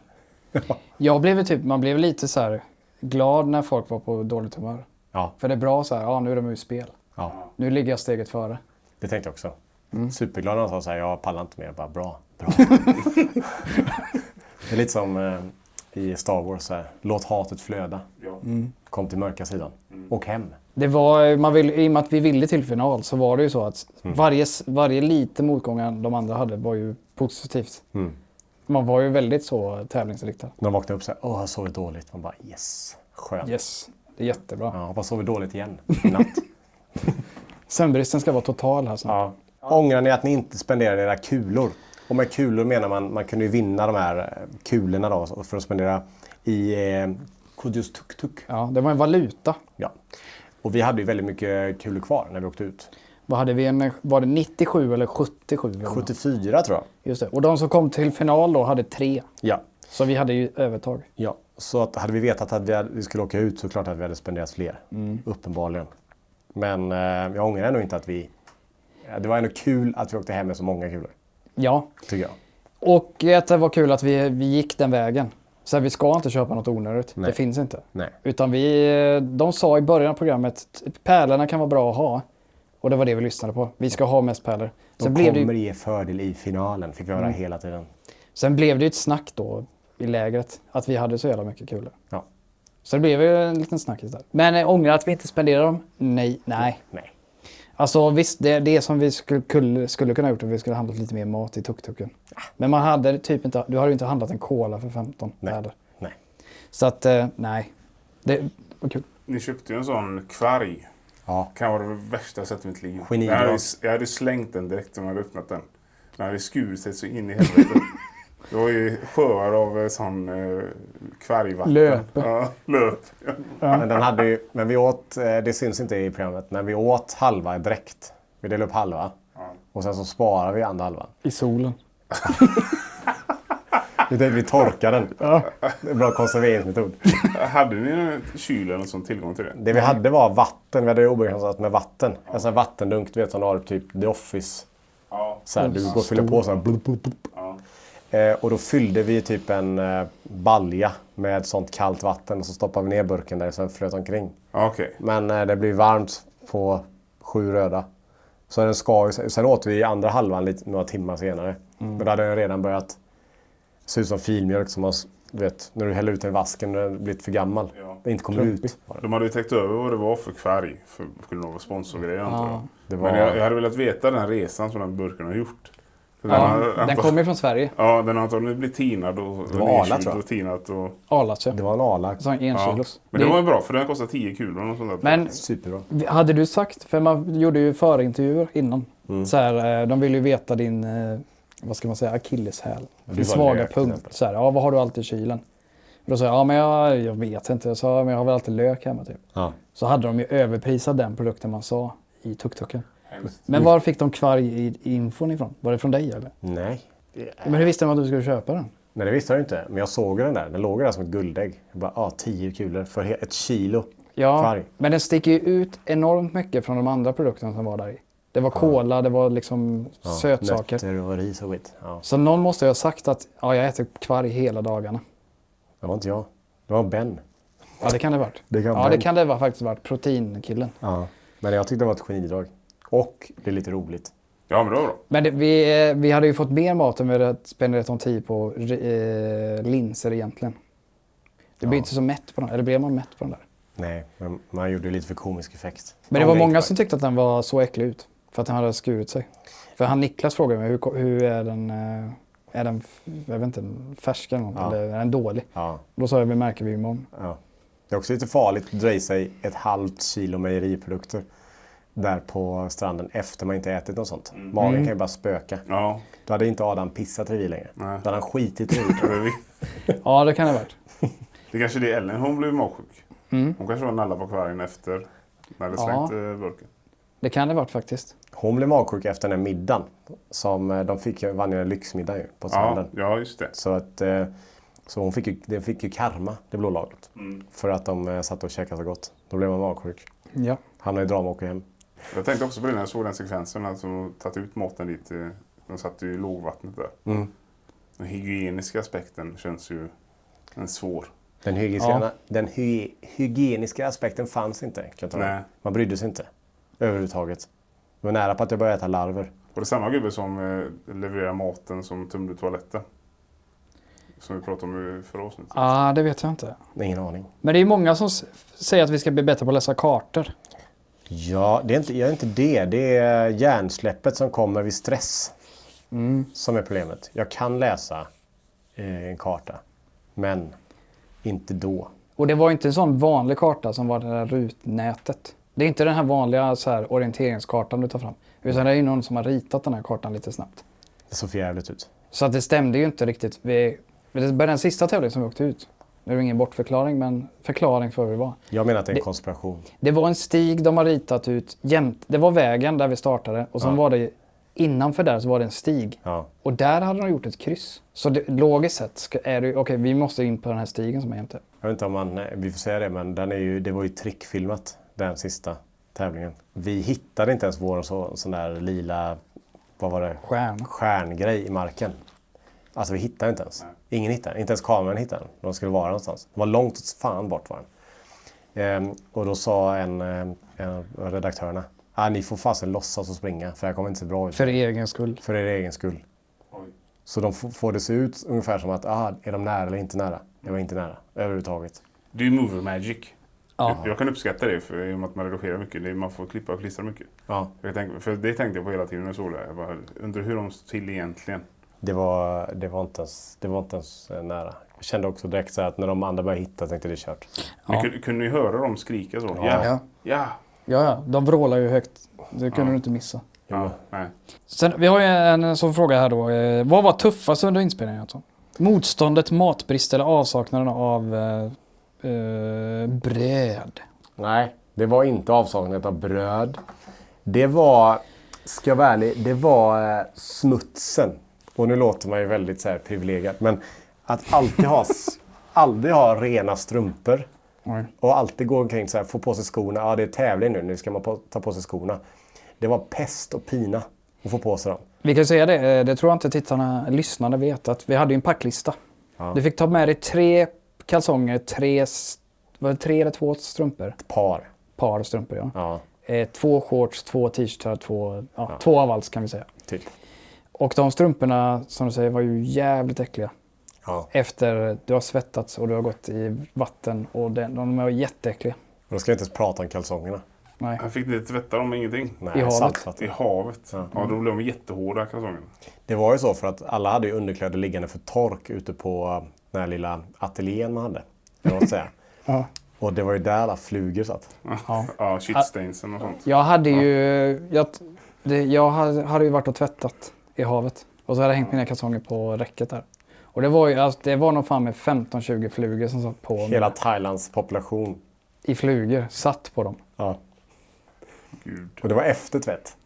Speaker 2: Jag blev ju typ, man blev lite så här glad när folk var på dåligt humör.
Speaker 1: Ja.
Speaker 2: För det är bra så här, ja nu är de ur spel.
Speaker 1: ja,
Speaker 2: Nu ligger jag steget före.
Speaker 1: det tänkte jag också. Superglad när han sa så här, jag pallar inte mer. Jag bara, bra, bra. det är lite som eh, i Star Wars, så här, låt hatet flöda. Kom till mörka sidan. Åk hem.
Speaker 2: Det var, man vill, I och med att vi ville till final så var det ju så att varje, s- varje liten motgång de andra hade var ju positivt. Man var ju väldigt så tävlingsriktad.
Speaker 1: När de vaknade upp så här, åh, jag har sovit dåligt. Man bara, yes, skönt.
Speaker 2: Yes, det är jättebra.
Speaker 1: Ja, hoppas sover dåligt igen i natt.
Speaker 2: Sömnbristen ska vara total här snart.
Speaker 1: ja. Ångrar ni att ni inte spenderade era kulor? Och med kulor menar man, man kunde ju vinna de här eh, kulorna då så- för att spendera i eh, Kudus Tuk-Tuk.
Speaker 2: Ja, det var en valuta.
Speaker 1: Ja. Och vi hade ju väldigt mycket kulor kvar när vi åkte ut.
Speaker 2: Vad hade vi? En, var det 97 eller 77? vi vann?
Speaker 1: 74 tror jag.
Speaker 2: Just det. Och de som kom till final då hade tre.
Speaker 1: Ja.
Speaker 2: Så vi hade ju övertag.
Speaker 1: ja. Så att hade vi vetat att vi, hade, vi skulle åka ut så klart att vi hade spenderat fler.
Speaker 2: Mm.
Speaker 1: Uppenbarligen. Men eh, jag ångrar ändå inte att vi... Ja, Det var ändå kul att vi åkte hem med så många kulor.
Speaker 2: Ja.
Speaker 1: Tycker jag.
Speaker 2: Och att det var kul att vi, vi gick den vägen. Så här, vi ska inte köpa något onödigt.
Speaker 1: Nej.
Speaker 2: Det finns inte.
Speaker 1: Nej.
Speaker 2: Utan vi, de sa i början av programmet att pärlorna kan vara bra att ha. Och det var det vi lyssnade på. Vi ska ha mest pärlor.
Speaker 1: De
Speaker 2: Sen blev,
Speaker 1: kommer
Speaker 2: det ju, Mm.
Speaker 1: ge fördel i finalen, fick vi höra hela tiden.
Speaker 2: sen blev det ju ett snack då i lägret att vi hade så jävla mycket kulor.
Speaker 1: Ja.
Speaker 2: Så det blev ju en liten snackis där. Men eh, ångrar att vi inte spenderade dem? Nej, nej.
Speaker 1: Nej.
Speaker 2: Alltså visst, det, det som vi skulle, kull- skulle kunna ha gjort om vi skulle ha handlat lite mer mat i tuk-tuken. Men man hade typ inte, du hade ju inte handlat en cola för 15
Speaker 1: Nej.
Speaker 2: pärlor.
Speaker 1: Nej.
Speaker 2: Så att, eh, nej. Det var kul.
Speaker 3: Ni köpte ju en sån kvarg.
Speaker 1: Ja.
Speaker 3: Kan vara det värsta jag sett i mitt liv.
Speaker 1: Genidrag.
Speaker 3: Jag hade, jag hade slängt den direkt om jag hade öppnat den. Den hade skurit sig så in i
Speaker 1: *laughs*
Speaker 3: helvete. Det var ju sjöar av eh, sån eh, kvargvatten.
Speaker 2: Löp.
Speaker 3: Ja, löp. *laughs*
Speaker 1: Men, den hade ju, men vi åt, eh, det syns inte i programmet, men vi åt halva direkt. Vi delade upp halva. Och sen så sparar vi andra halvan.
Speaker 2: I solen.
Speaker 1: Utan vi torkar den. Det är en bra konserveringsmetod.
Speaker 3: Hade ni kyl eller något sånt tillgång till det?
Speaker 1: Det vi hade var vatten. Vi hade det obegränsat med vatten. En sån här vattendunk du vet som du har typ The Office.
Speaker 3: Ja.
Speaker 1: Så här, du går och fyller på så här. Blup, blup, blup. Eh, och då fyllde vi typ en eh, balja med sånt kallt vatten och så stoppade vi ner burken där så den flöt omkring.
Speaker 3: Ja, Okej.
Speaker 1: Men eh, det blir varmt på sju röda. Så den skar ju sig. Sen åt vi andra halvan lite, några timmar senare. Men då hade den redan börjat se ut som filmjölk som har, s- du vet, när du häller ut den i vasken och den har blivit för gammal.
Speaker 3: Ja.
Speaker 1: Den inte kommer ut.
Speaker 3: De hade ju täckt över vad det var för färg. För det skulle nog vara sponsorgrejer antar jag.
Speaker 1: Det var-
Speaker 3: Men jag, jag hade velat veta den resan som den burken har gjort. För
Speaker 2: Ja,
Speaker 3: har- *laughs*
Speaker 2: den
Speaker 3: antar-
Speaker 2: kommer ju från Sverige.
Speaker 3: Ja, den har antagligen blivit tinad och
Speaker 1: Det var
Speaker 3: nedkyld
Speaker 1: Arla, tror jag.
Speaker 3: och tinat. Och,
Speaker 2: Arlatje.
Speaker 1: Det var en A-lax.
Speaker 2: Som
Speaker 3: ja.
Speaker 2: enkilos.
Speaker 3: Men det, var ju bra för den kostar 10 kulor. Och något sånt där.
Speaker 2: Men
Speaker 1: Superbra.
Speaker 2: hade du sagt, för man gjorde ju förintervjuer innan.
Speaker 1: Mm.
Speaker 2: Så här, eh, de ville ju veta din, eh, vad ska man säga, akilleshäl. Din
Speaker 1: var
Speaker 2: svaga
Speaker 1: lök, till
Speaker 2: punkt.
Speaker 1: exempel.
Speaker 2: Så här, ja, vad har du alltid i kylen? Och då sa jag, ja men jag, jag vet inte. Jag sa, men jag har väl alltid lök hemma typ.
Speaker 1: Ja.
Speaker 2: Så hade de ju överprisat den produkten man sa i tuk-tuken. Men var fick de kvarg i i infon ifrån? Var det från dig eller?
Speaker 1: Nej.
Speaker 2: Men hur visste de att du skulle köpa den?
Speaker 1: Nej, det visste jag ju inte. Men jag såg den där. Den låg där som ett guldägg. Jag bara, ah, tio kulor för he- ett kilo
Speaker 2: Ja,
Speaker 1: kvarg.
Speaker 2: men den sticker ju ut enormt mycket från de andra produkterna som var där i. Det var kola, det var liksom
Speaker 1: Ja,
Speaker 2: sötsaker.
Speaker 1: Nötter och ris och skit. Ja.
Speaker 2: Så någon måste ju ha sagt att ja, jag äter kvarg hela dagarna.
Speaker 1: Det var inte jag. Det var Ben.
Speaker 2: Ja, det kan det ha varit.
Speaker 1: Det kan
Speaker 2: ja,
Speaker 1: vara.
Speaker 2: det kan det ha faktiskt varit. Proteinkillen.
Speaker 1: Ja. Men jag tyckte det var ett genidrag. Och det är lite roligt.
Speaker 3: Ja, men det var bra.
Speaker 2: Men det, vi, eh, vi hade ju fått mer mat om vi hade spenderat om tid på eh, linser egentligen. Det blir inte så mätt på den. Eller blev man mätt på den där?
Speaker 1: Nej, men man gjorde det lite för komisk effekt.
Speaker 2: Men det var
Speaker 1: Om
Speaker 2: många
Speaker 1: inte-
Speaker 2: som tyckte att den var så äcklig ut. För att den hade skurit sig. För han Niklas frågade mig, hur, ko- hur är den, eh, är den f- jag vet inte, färsk eller något? Eller är den dålig?
Speaker 1: Ja,
Speaker 2: Då sa jag, vi märker vi imorgon.
Speaker 1: ja. Det är också lite farligt att dra i sig ett halvt kilo mejeriprodukter där på stranden efter man inte ätit något sånt.
Speaker 2: Mm.
Speaker 1: Magen kan ju bara spöka.
Speaker 3: Ja.
Speaker 1: Då hade inte Adam pissat revir längre. Då hade han skitit i
Speaker 3: det är vi.
Speaker 2: Ja, det kan det ha varit.
Speaker 3: Det kanske är det Ellen, hon blev magsjuk. Hon kanske var nalla på kvargen efter. När det slängt eh, burken.
Speaker 2: Det kan det ha varit faktiskt.
Speaker 1: Hon blev magsjuk efter den här middagen. Som eh, de fick, ju- vann ju en lyxmiddag ju på
Speaker 3: Ja,
Speaker 1: stranden.
Speaker 3: ja, just det.
Speaker 1: Så, att, eh, så hon fick ju, den fick ju karma, det blå laget.
Speaker 3: Mm.
Speaker 1: För att de eh, satt och käkade så gott. Då blev man magsjuk.
Speaker 2: Ja.
Speaker 1: Hamnade i drama och åker hem.
Speaker 3: Jag tänkte också på det när jag såg den sekvensen. Att de tagit ut maten dit. eh, De satt ju i lågvattnet där. Den hygieniska aspekten känns ju en svår.
Speaker 1: Den hygieniska, den hy, hygieniska aspekten fanns inte. Kan jag ta
Speaker 3: Nej.
Speaker 1: Man brydde sig inte. Överhuvudtaget. Det var nära på att jag började äta larver.
Speaker 3: Och det är samma gubbe som eh, levererar maten som tömde toaletten. Som vi pratade om i förra avsnittet.
Speaker 2: Ah, det vet jag inte.
Speaker 1: Ingen aning.
Speaker 2: Men det är många som s- säger att vi ska bli bättre på att läsa kartor.
Speaker 1: Ja, det är inte, jag är inte det. Det är hjärnsläppet som kommer vid stress. Som är problemet. Jag kan läsa eh, en karta. Men inte då.
Speaker 2: Och det var inte en sån vanlig karta som var det där rutnätet. Det är inte den här vanliga så här, orienteringskartan du tar fram. Utan det är ju någon som har ritat den här kartan lite snabbt.
Speaker 1: Det såg för jävligt ut.
Speaker 2: Så att det stämde ju inte riktigt. Vi, det var den sista tävlingen som vi åkte ut. Nu är det ingen bortförklaring, men förklaring för hur det var.
Speaker 1: Jag menar att det är en konspiration.
Speaker 2: Det var en stig de har ritat ut jämt. Det var vägen där vi startade och sen var det innanför där så var det en stig.
Speaker 1: Ja.
Speaker 2: Och där hade de gjort ett kryss. Så det, logiskt sett ska, är det ju, okej vi måste in på den här stigen som är jämte.
Speaker 1: Jag vet inte om man, eh, vi får säga det, men den är ju, det var ju trickfilmat den sista tävlingen. Vi hittade inte ens vår så, sån där lila, vad var det?
Speaker 2: Stjärn.
Speaker 1: Stjärngrej i marken. Alltså vi hittade inte ens. Ingen hittade Inte ens kameran hittade den. De skulle vara någonstans. Det var långt åt fan bort var den. Ehm, och då sa en, ehm, en av redaktörerna, ah, ni får fasen låtsas och springa för det här kommer inte se bra ut.
Speaker 2: För egen skull.
Speaker 1: för er egen skull. Så de f- får det se ut ungefär som att, ah, är de nära eller inte nära? Det var inte nära överhuvudtaget.
Speaker 3: Det är ju movie magic. Jag, jag kan uppskatta det för, i och med att man redigerar mycket. Det, är- man får klippa och klistra mycket.
Speaker 1: Ja.
Speaker 3: Jag tänkte, för det tänkte jag på hela tiden när jag såg det här. Jag bara, undrar hur de står till egentligen.
Speaker 1: Det var, det, var inte ens, det var inte ens eh, nära. Jag kände också direkt så här att när de andra började hitta tänkte jag, det är kört.
Speaker 3: Men kunde, kunde ni höra dem skrika så? Ja.
Speaker 2: Ja.
Speaker 3: Ja. ja.
Speaker 2: Ja, ja. De vrålar ju högt. Det kunde du inte missa.
Speaker 3: Nej.
Speaker 2: Sen, vi har ju en sån fråga här då. Eh, Vad var tuffast under inspelningen? Anton? Motståndet, matbrist eller avsaknaden av eh, eh, bröd?
Speaker 1: Nej, det var inte avsaknad av bröd. Det var Ska jag vara ärlig, det var eh, smutsen. Och nu låter man ju väldigt så här privilegierad. Men att alltid ha, s- *laughs* aldrig ha rena strumpor. Och alltid gå omkring så här, få på sig skorna. Ja, det är tävling nu. Nu ska man på, ta på sig skorna. Det var pest och pina att få på sig dem.
Speaker 2: Vi kan ju säga det, eh, det tror jag inte tittarna, lyssnarna vet, att vi hade ju en packlista. Du fick ta med dig tre kalsonger, tre, s- var det tre eller två strumpor?
Speaker 1: Par.
Speaker 2: Par strumpor ja.
Speaker 1: Ja,
Speaker 2: Eh, två shorts, två t-shirtar, två, ja, två av allt kan vi säga.
Speaker 1: typ.
Speaker 2: Och de strumporna, som du säger, var ju jävligt äckliga.
Speaker 1: Ja.
Speaker 2: Efter du har svettats och du har gått i vatten och den, de var jätteäckliga.
Speaker 1: Och då ska jag inte ens prata om kalsongerna.
Speaker 2: Nej.
Speaker 3: Jag fick inte tvätta dem ingenting.
Speaker 2: I havet.
Speaker 3: I
Speaker 1: saltvatten.
Speaker 3: havet. Ja, då blev de jättehårda kalsongerna.
Speaker 1: Det var ju så för att alla hade ju underkläder liggande för tork ute på eh, den här lilla ateljén man hade. Eller vad man ska
Speaker 3: *laughs*
Speaker 1: säga.
Speaker 2: Ja.
Speaker 1: Och det var ju där alla flugor satt.
Speaker 3: Ja, *laughs* ja shitstainsen och sånt.
Speaker 2: Jag hade ju, jag, det, jag hade, hade ju varit och tvättat i havet. Och så hade jag hängt mina kalsonger på räcket där. Och det var ju, alltså, det var nog fan med 15-20 flugor som satt på mig.
Speaker 1: Hela Thailands population.
Speaker 2: I flugor, satt på dem.
Speaker 1: Ja.
Speaker 3: Gud.
Speaker 1: Och det var efter tvätt.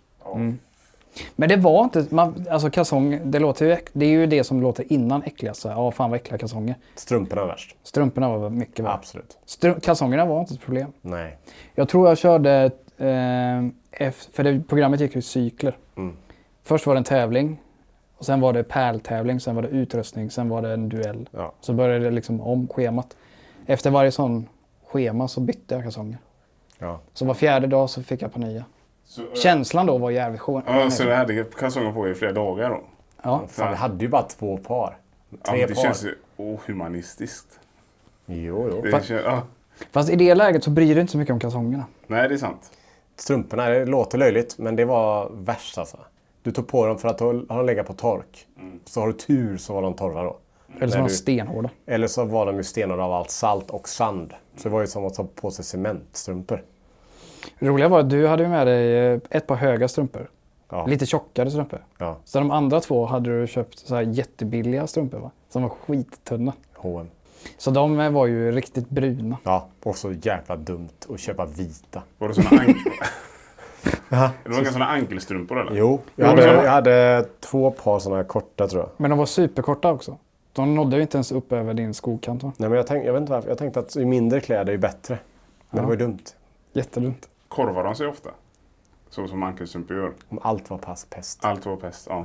Speaker 2: Men det var inte, man, alltså kalsong, det låter ju, äck- det är ju det som låter innan äckligast. Så här, Ja, fan vad äckliga kalsonger.
Speaker 1: Strumporna värst.
Speaker 2: Strumporna var mycket värre.
Speaker 1: Absolut.
Speaker 2: Stru- kalsongerna var inte ett problem.
Speaker 1: Nej.
Speaker 2: Jag tror jag körde, eh, F, för det, programmet gick ju i cykler.
Speaker 1: Mm.
Speaker 2: Först var det en tävling, och sen var det pärltävling, sen var det utröstning, sen var det en duell.
Speaker 1: Ja.
Speaker 2: Så började det liksom om schemat. Efter varje sån schema så bytte jag kalsonger.
Speaker 1: Ja.
Speaker 2: Så var fjärde dag så fick jag på nya.
Speaker 3: Så, äh,
Speaker 2: Känslan då var jävligt skön.
Speaker 3: ja, så jag hade kalsonger på i flera dagar då.
Speaker 2: ja.
Speaker 1: Fan, vi hade ju bara två par.
Speaker 3: Ja,
Speaker 1: Tre
Speaker 3: men det
Speaker 1: par.
Speaker 3: känns ju ohumanistiskt.
Speaker 1: Jo, jo.
Speaker 3: Det känns, ja.
Speaker 2: Fast i det läget så bryr du dig inte så mycket om kalsongerna.
Speaker 3: Nej, det är sant.
Speaker 1: Strumporna, det låter löjligt, men det var värst alltså. Du tog på dem för att du har de legat på tork. Så har du tur så var de torra då.
Speaker 2: Eller så
Speaker 1: Nej,
Speaker 2: var de
Speaker 1: du-
Speaker 2: stenhårda.
Speaker 1: Eller så var de ju stenar av allt salt och sand. Så det var ju som att ta på sig cementstrumpor.
Speaker 2: Det roliga var att du hade ju med dig eh, ett par höga strumpor.
Speaker 1: Ja.
Speaker 2: Lite tjockare strumpor.
Speaker 1: Ja,
Speaker 2: Så de andra två hade du köpt så här jättebilliga strumpor va? Som var skittunna.
Speaker 1: H&M.
Speaker 2: Så de eh, var ju riktigt bruna.
Speaker 1: Ja, och så jävla dumt att köpa vita.
Speaker 3: Var det såna
Speaker 2: *laughs*
Speaker 3: ankel... det var inga såna ankelstrumpor eller?
Speaker 1: Jo, jag hade, jag hade två par sådana här korta tror jag.
Speaker 2: Men de var superkorta också. De nådde ju inte ens upp över din skokant va?
Speaker 1: Nej, men jag, tänk, jag vet inte varför. Jag tänkte att ju mindre kläder är bättre. Men det var ju dumt.
Speaker 2: Jättedumt.
Speaker 3: Korvar de sig ofta? Så som ankelstrumpor gör.
Speaker 1: Om allt var pass, pest.
Speaker 3: Allt var pest. Ja.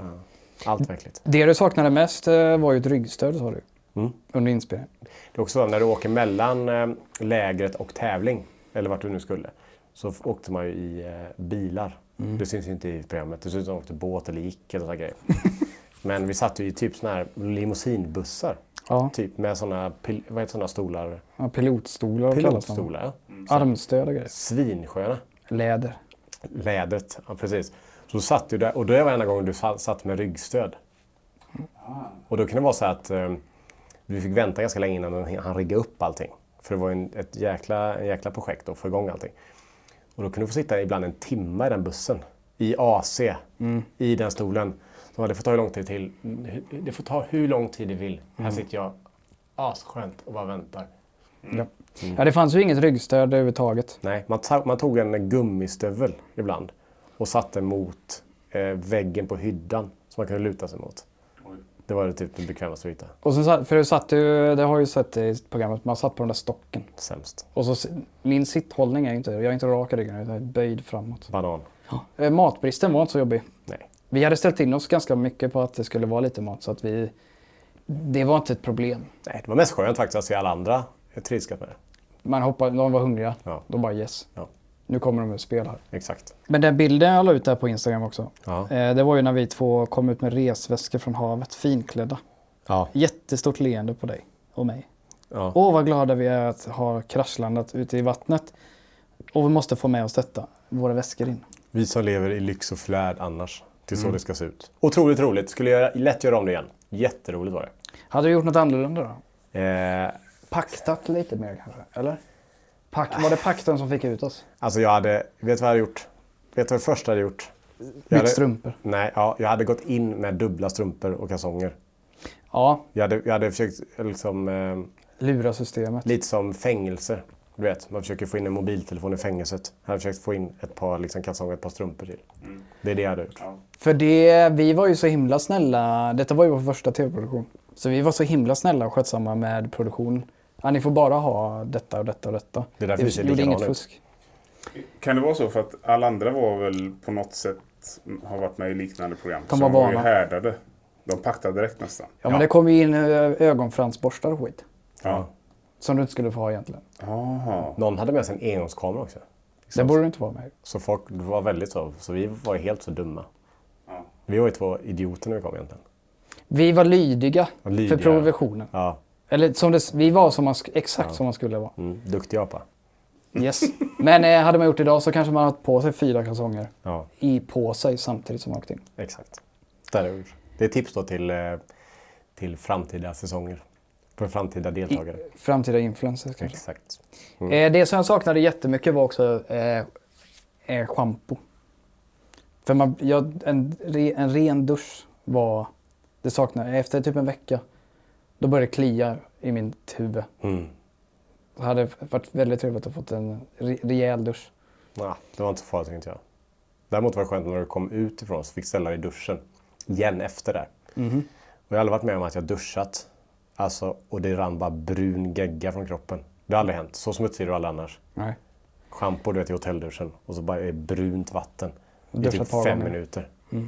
Speaker 1: Allt var äckligt.
Speaker 2: Det du saknade mest eh, var ju ett ryggstöd sa du. Under inspelningen.
Speaker 1: Det är också när du åker mellan eh, lägret och tävling, eller vart du nu skulle, så f- åkte man ju i eh, bilar.
Speaker 2: Mm.
Speaker 1: Det syns ju inte i programmet. Det syns att man åkte båt eller gick eller
Speaker 2: *laughs*
Speaker 1: sådana grejer. Men vi satt ju i typ såna här limousinbussar.
Speaker 2: Ja.
Speaker 1: Typ med sådana, pil- vad heter sådana stolar?
Speaker 2: Ja, pilotstolar kallas de.
Speaker 1: Pilotstolar, ja.
Speaker 2: Armstöd och grejer.
Speaker 1: Svinsköna.
Speaker 2: Läder.
Speaker 1: Lädret, ja precis. Så satt du där och det var enda gången du sa- satt med ryggstöd. Och då kunde det vara så att eh, du fick vänta ganska länge innan han- han riggade upp allting. För det var ju en, ett jäkla, en jäkla projekt att få igång allting. Och då kunde du få sitta ibland en timme i den bussen. I AC, i den stolen. Så bara, det får ta hur lång tid till. Det får ta hur lång tid det vill. Här sitter jag asskönt och bara väntar.
Speaker 2: Ja, det fanns ju inget ryggstöd överhuvudtaget.
Speaker 1: Nej, man, ta- man tog en gummistövel ibland och satte mot eh, väggen på hyddan som man kunde luta sig mot. Det var det typ det bekvämaste vi hittade.
Speaker 2: Och sen, satt- för du satt ju, det har jag ju sett i programmet, man satt på den där stocken.
Speaker 1: Sämst.
Speaker 2: Och så, s- min sitthållning är ju inte, jag är inte rak i ryggen, utan jag är böjd framåt.
Speaker 1: Banan.
Speaker 2: Eh, Matbristen var inte så jobbig.
Speaker 1: Nej.
Speaker 2: Vi hade ställt in oss ganska mycket på att det skulle vara lite mat, så att vi... Det var inte ett problem.
Speaker 1: Nej, det var mest skönt faktiskt att se alla andra trilskat med det.
Speaker 2: Man hoppade, de var hungriga.
Speaker 1: Ja.
Speaker 2: De bara yes.
Speaker 1: Ja,
Speaker 2: Nu kommer de med spel här.
Speaker 1: exakt.
Speaker 2: Men den bilden jag la ut där på Instagram också.
Speaker 1: Ja.
Speaker 2: Eh, det var ju när vi två kom ut med resväskor från havet, finklädda.
Speaker 1: Ja.
Speaker 2: Jättestort leende på dig och mig.
Speaker 1: Ja.
Speaker 2: Åh, vad glada vi är att ha kraschlandat ute i vattnet. Och vi måste få med oss detta, våra väskor in.
Speaker 1: Vi som lever i lyx och flärd annars. Det är så det ska se ut. Otroligt roligt. Skulle göra, lätt göra om det igen. Jätteroligt var det.
Speaker 2: Hade du gjort något annorlunda då?
Speaker 1: Eh,
Speaker 2: Paktat lite mer kanske, eller? Pack, var det pakten som fick ut oss?
Speaker 1: alltså jag hade, vet du vad jag hade gjort? Vet du vad det första jag hade gjort? Jag
Speaker 2: Bytt
Speaker 1: hade,
Speaker 2: strumpor.
Speaker 1: Nej, ja, jag hade gått in med dubbla strumpor och kalsonger.
Speaker 2: Ja,
Speaker 1: Jag hade, jag hade försökt, liksom, eh,
Speaker 2: lura systemet.
Speaker 1: lite som fängelse. Du vet, man försöker få in en mobiltelefon i fängelset. Han har försökt få in ett par liksom, kalsonger och ett par strumpor till. Det är det jag hade gjort.
Speaker 2: För det, vi var ju så himla snälla. Detta var ju vår första tv-produktion. Så vi var så himla snälla och skötsamma med produktionen. Ja, ni får bara ha detta och detta och detta.
Speaker 1: Det är därför vi ser
Speaker 2: gjorde
Speaker 1: likadana
Speaker 2: inget
Speaker 1: ut.
Speaker 2: fusk.
Speaker 3: Kan det vara så för att alla andra var väl på något sätt har varit med i liknande program.
Speaker 2: De
Speaker 3: så
Speaker 2: var
Speaker 3: de var ju
Speaker 2: vana.
Speaker 3: härdade. De paktade direkt nästan.
Speaker 2: Ja, men det kom ju in ö, ögonfransborstar och skit.
Speaker 3: Ja.
Speaker 2: Som du inte skulle få ha egentligen.
Speaker 3: Aha.
Speaker 1: Någon hade med sig en engångskamera också.
Speaker 2: Det borde du inte vara med
Speaker 1: Så folk var väldigt så. Så vi var ju helt så dumma. Vi var ju två idioter när vi kom egentligen.
Speaker 2: Vi var lydiga,
Speaker 1: Och lydiga.
Speaker 2: för provisionen.
Speaker 1: Ja,
Speaker 2: Eller som det, vi var som man, sk- exakt som man skulle vara.
Speaker 1: mm, duktig apa.
Speaker 2: Yes. Men eh, hade man gjort idag så kanske man hade haft på sig fyra kalsonger
Speaker 1: Ja,
Speaker 2: i på sig samtidigt som man åkte in.
Speaker 1: exakt. Det, är det är tips då till, eh, till framtida säsonger. För framtida deltagare.
Speaker 2: Framtida influencers kanske.
Speaker 1: Exakt.
Speaker 2: Eh, det som jag saknade jättemycket var också eh, eh, shampoo. För man, jag, en, re, en ren dusch var... Det saknade Efter typ en vecka, då började det klia i min huvud. Det hade varit väldigt trevligt att få en re, rejäl dusch.
Speaker 1: Ja, det var inte så farligt tänkte jag. Däremot var det skönt när du kom ut ifrån oss och fick ställa dig i duschen. Igen efter det. Och jag har aldrig varit med om att jag duschat alltså, och det rann bara brun gegga från kroppen. Det har aldrig hänt. Så smutsig är du aldrig annars.
Speaker 2: Nej.
Speaker 1: Schampo du vet, i hotellduschen och så bara är det brunt vatten. I
Speaker 2: Duscha
Speaker 1: typ
Speaker 2: ett par
Speaker 1: fem
Speaker 2: gånger.
Speaker 1: minuter. Så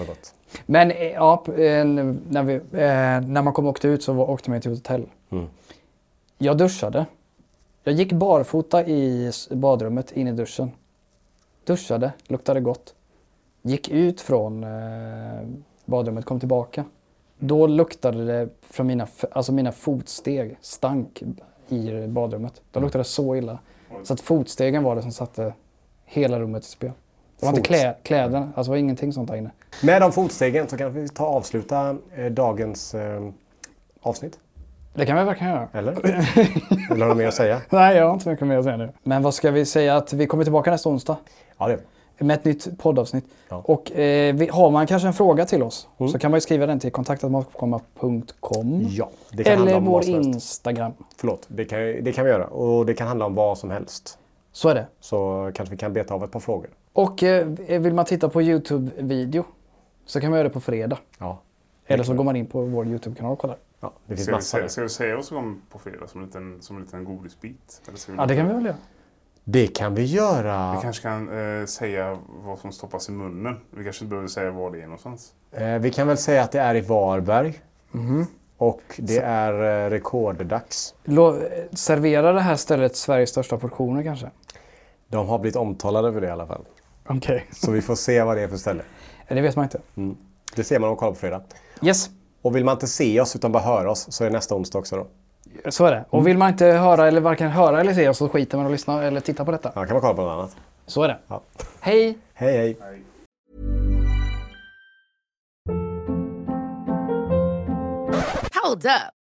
Speaker 1: det var gott.
Speaker 2: Men eh, ja, p- eh, när, vi, eh, när man kom och åkte ut så var, åkte man till hotell. Jag duschade. Jag gick barfota i s- badrummet in i duschen. Duschade, luktade gott. Gick ut från eh, badrummet, kom tillbaka. Då luktade det från mina, f- alltså mina fotsteg, stank i badrummet. De luktade så illa. Så att fotstegen var det som satte hela rummet i spel. Det var inte
Speaker 1: Fotsteg.
Speaker 2: klä, kläderna, alltså det var ingenting sånt där inne.
Speaker 1: Med de fotstegen så kan vi ta och avsluta eh, dagens eh, avsnitt.
Speaker 2: Det kan vi verkligen göra.
Speaker 1: Eller? Vill du ha något mer att säga?
Speaker 2: Nej, jag har inte mycket mer att säga nu. Men vad ska vi säga? Att vi kommer tillbaka nästa onsdag
Speaker 1: Ja, det
Speaker 2: med ett nytt poddavsnitt.
Speaker 1: Ja.
Speaker 2: Och eh, vi, har man kanske en fråga till oss så kan man ju skriva den till kontaktatmatkomma.com.
Speaker 1: Ja, det kan handla
Speaker 2: Eller
Speaker 1: om vad
Speaker 2: vår
Speaker 1: som helst.
Speaker 2: Instagram.
Speaker 1: Förlåt, det kan, det kan vi göra. Och det kan handla om vad som helst.
Speaker 2: Så är det.
Speaker 1: Så kanske vi kan beta av ett par frågor.
Speaker 2: Och eh, vill man titta på Youtube-video så kan man göra det på fredag.
Speaker 1: Ja.
Speaker 2: Eller så går man in på vår Youtube-kanal och kollar.
Speaker 1: ja det finns
Speaker 3: Ska vi,
Speaker 1: massor.
Speaker 3: säga, ska vi säga vad som kommer på fredag som en liten, som en liten godisbit? Eller ska
Speaker 2: Ja, det kan vi väl göra.
Speaker 1: Det kan vi göra.
Speaker 3: Vi kanske kan eh, säga vad som stoppas i munnen. Vi kanske inte behöver säga var det är någonstans.
Speaker 1: Eh, vi kan väl säga att det är i Varberg.
Speaker 3: Mhm.
Speaker 1: Och det är eh, rekorddags.
Speaker 2: Lå, eh, servera det här stället Sveriges största portioner kanske.
Speaker 1: De har blivit omtalade över det i alla fall.
Speaker 2: Okej.
Speaker 1: Så vi får se vad det är för ställe.
Speaker 2: Det vet man inte.
Speaker 1: Det ser man om man kollar på fredag.
Speaker 2: Yes.
Speaker 1: Och vill man inte se oss utan bara höra oss så är det nästa onsdag också då.
Speaker 2: Så är det. Och vill man inte höra eller varken höra eller se oss så skiter man och lyssnar eller tittar på detta.
Speaker 1: Ja, kan man kolla på något annat.
Speaker 2: Så är det.
Speaker 1: Ja.
Speaker 2: Hej!
Speaker 1: Hej hej!
Speaker 4: Hold up.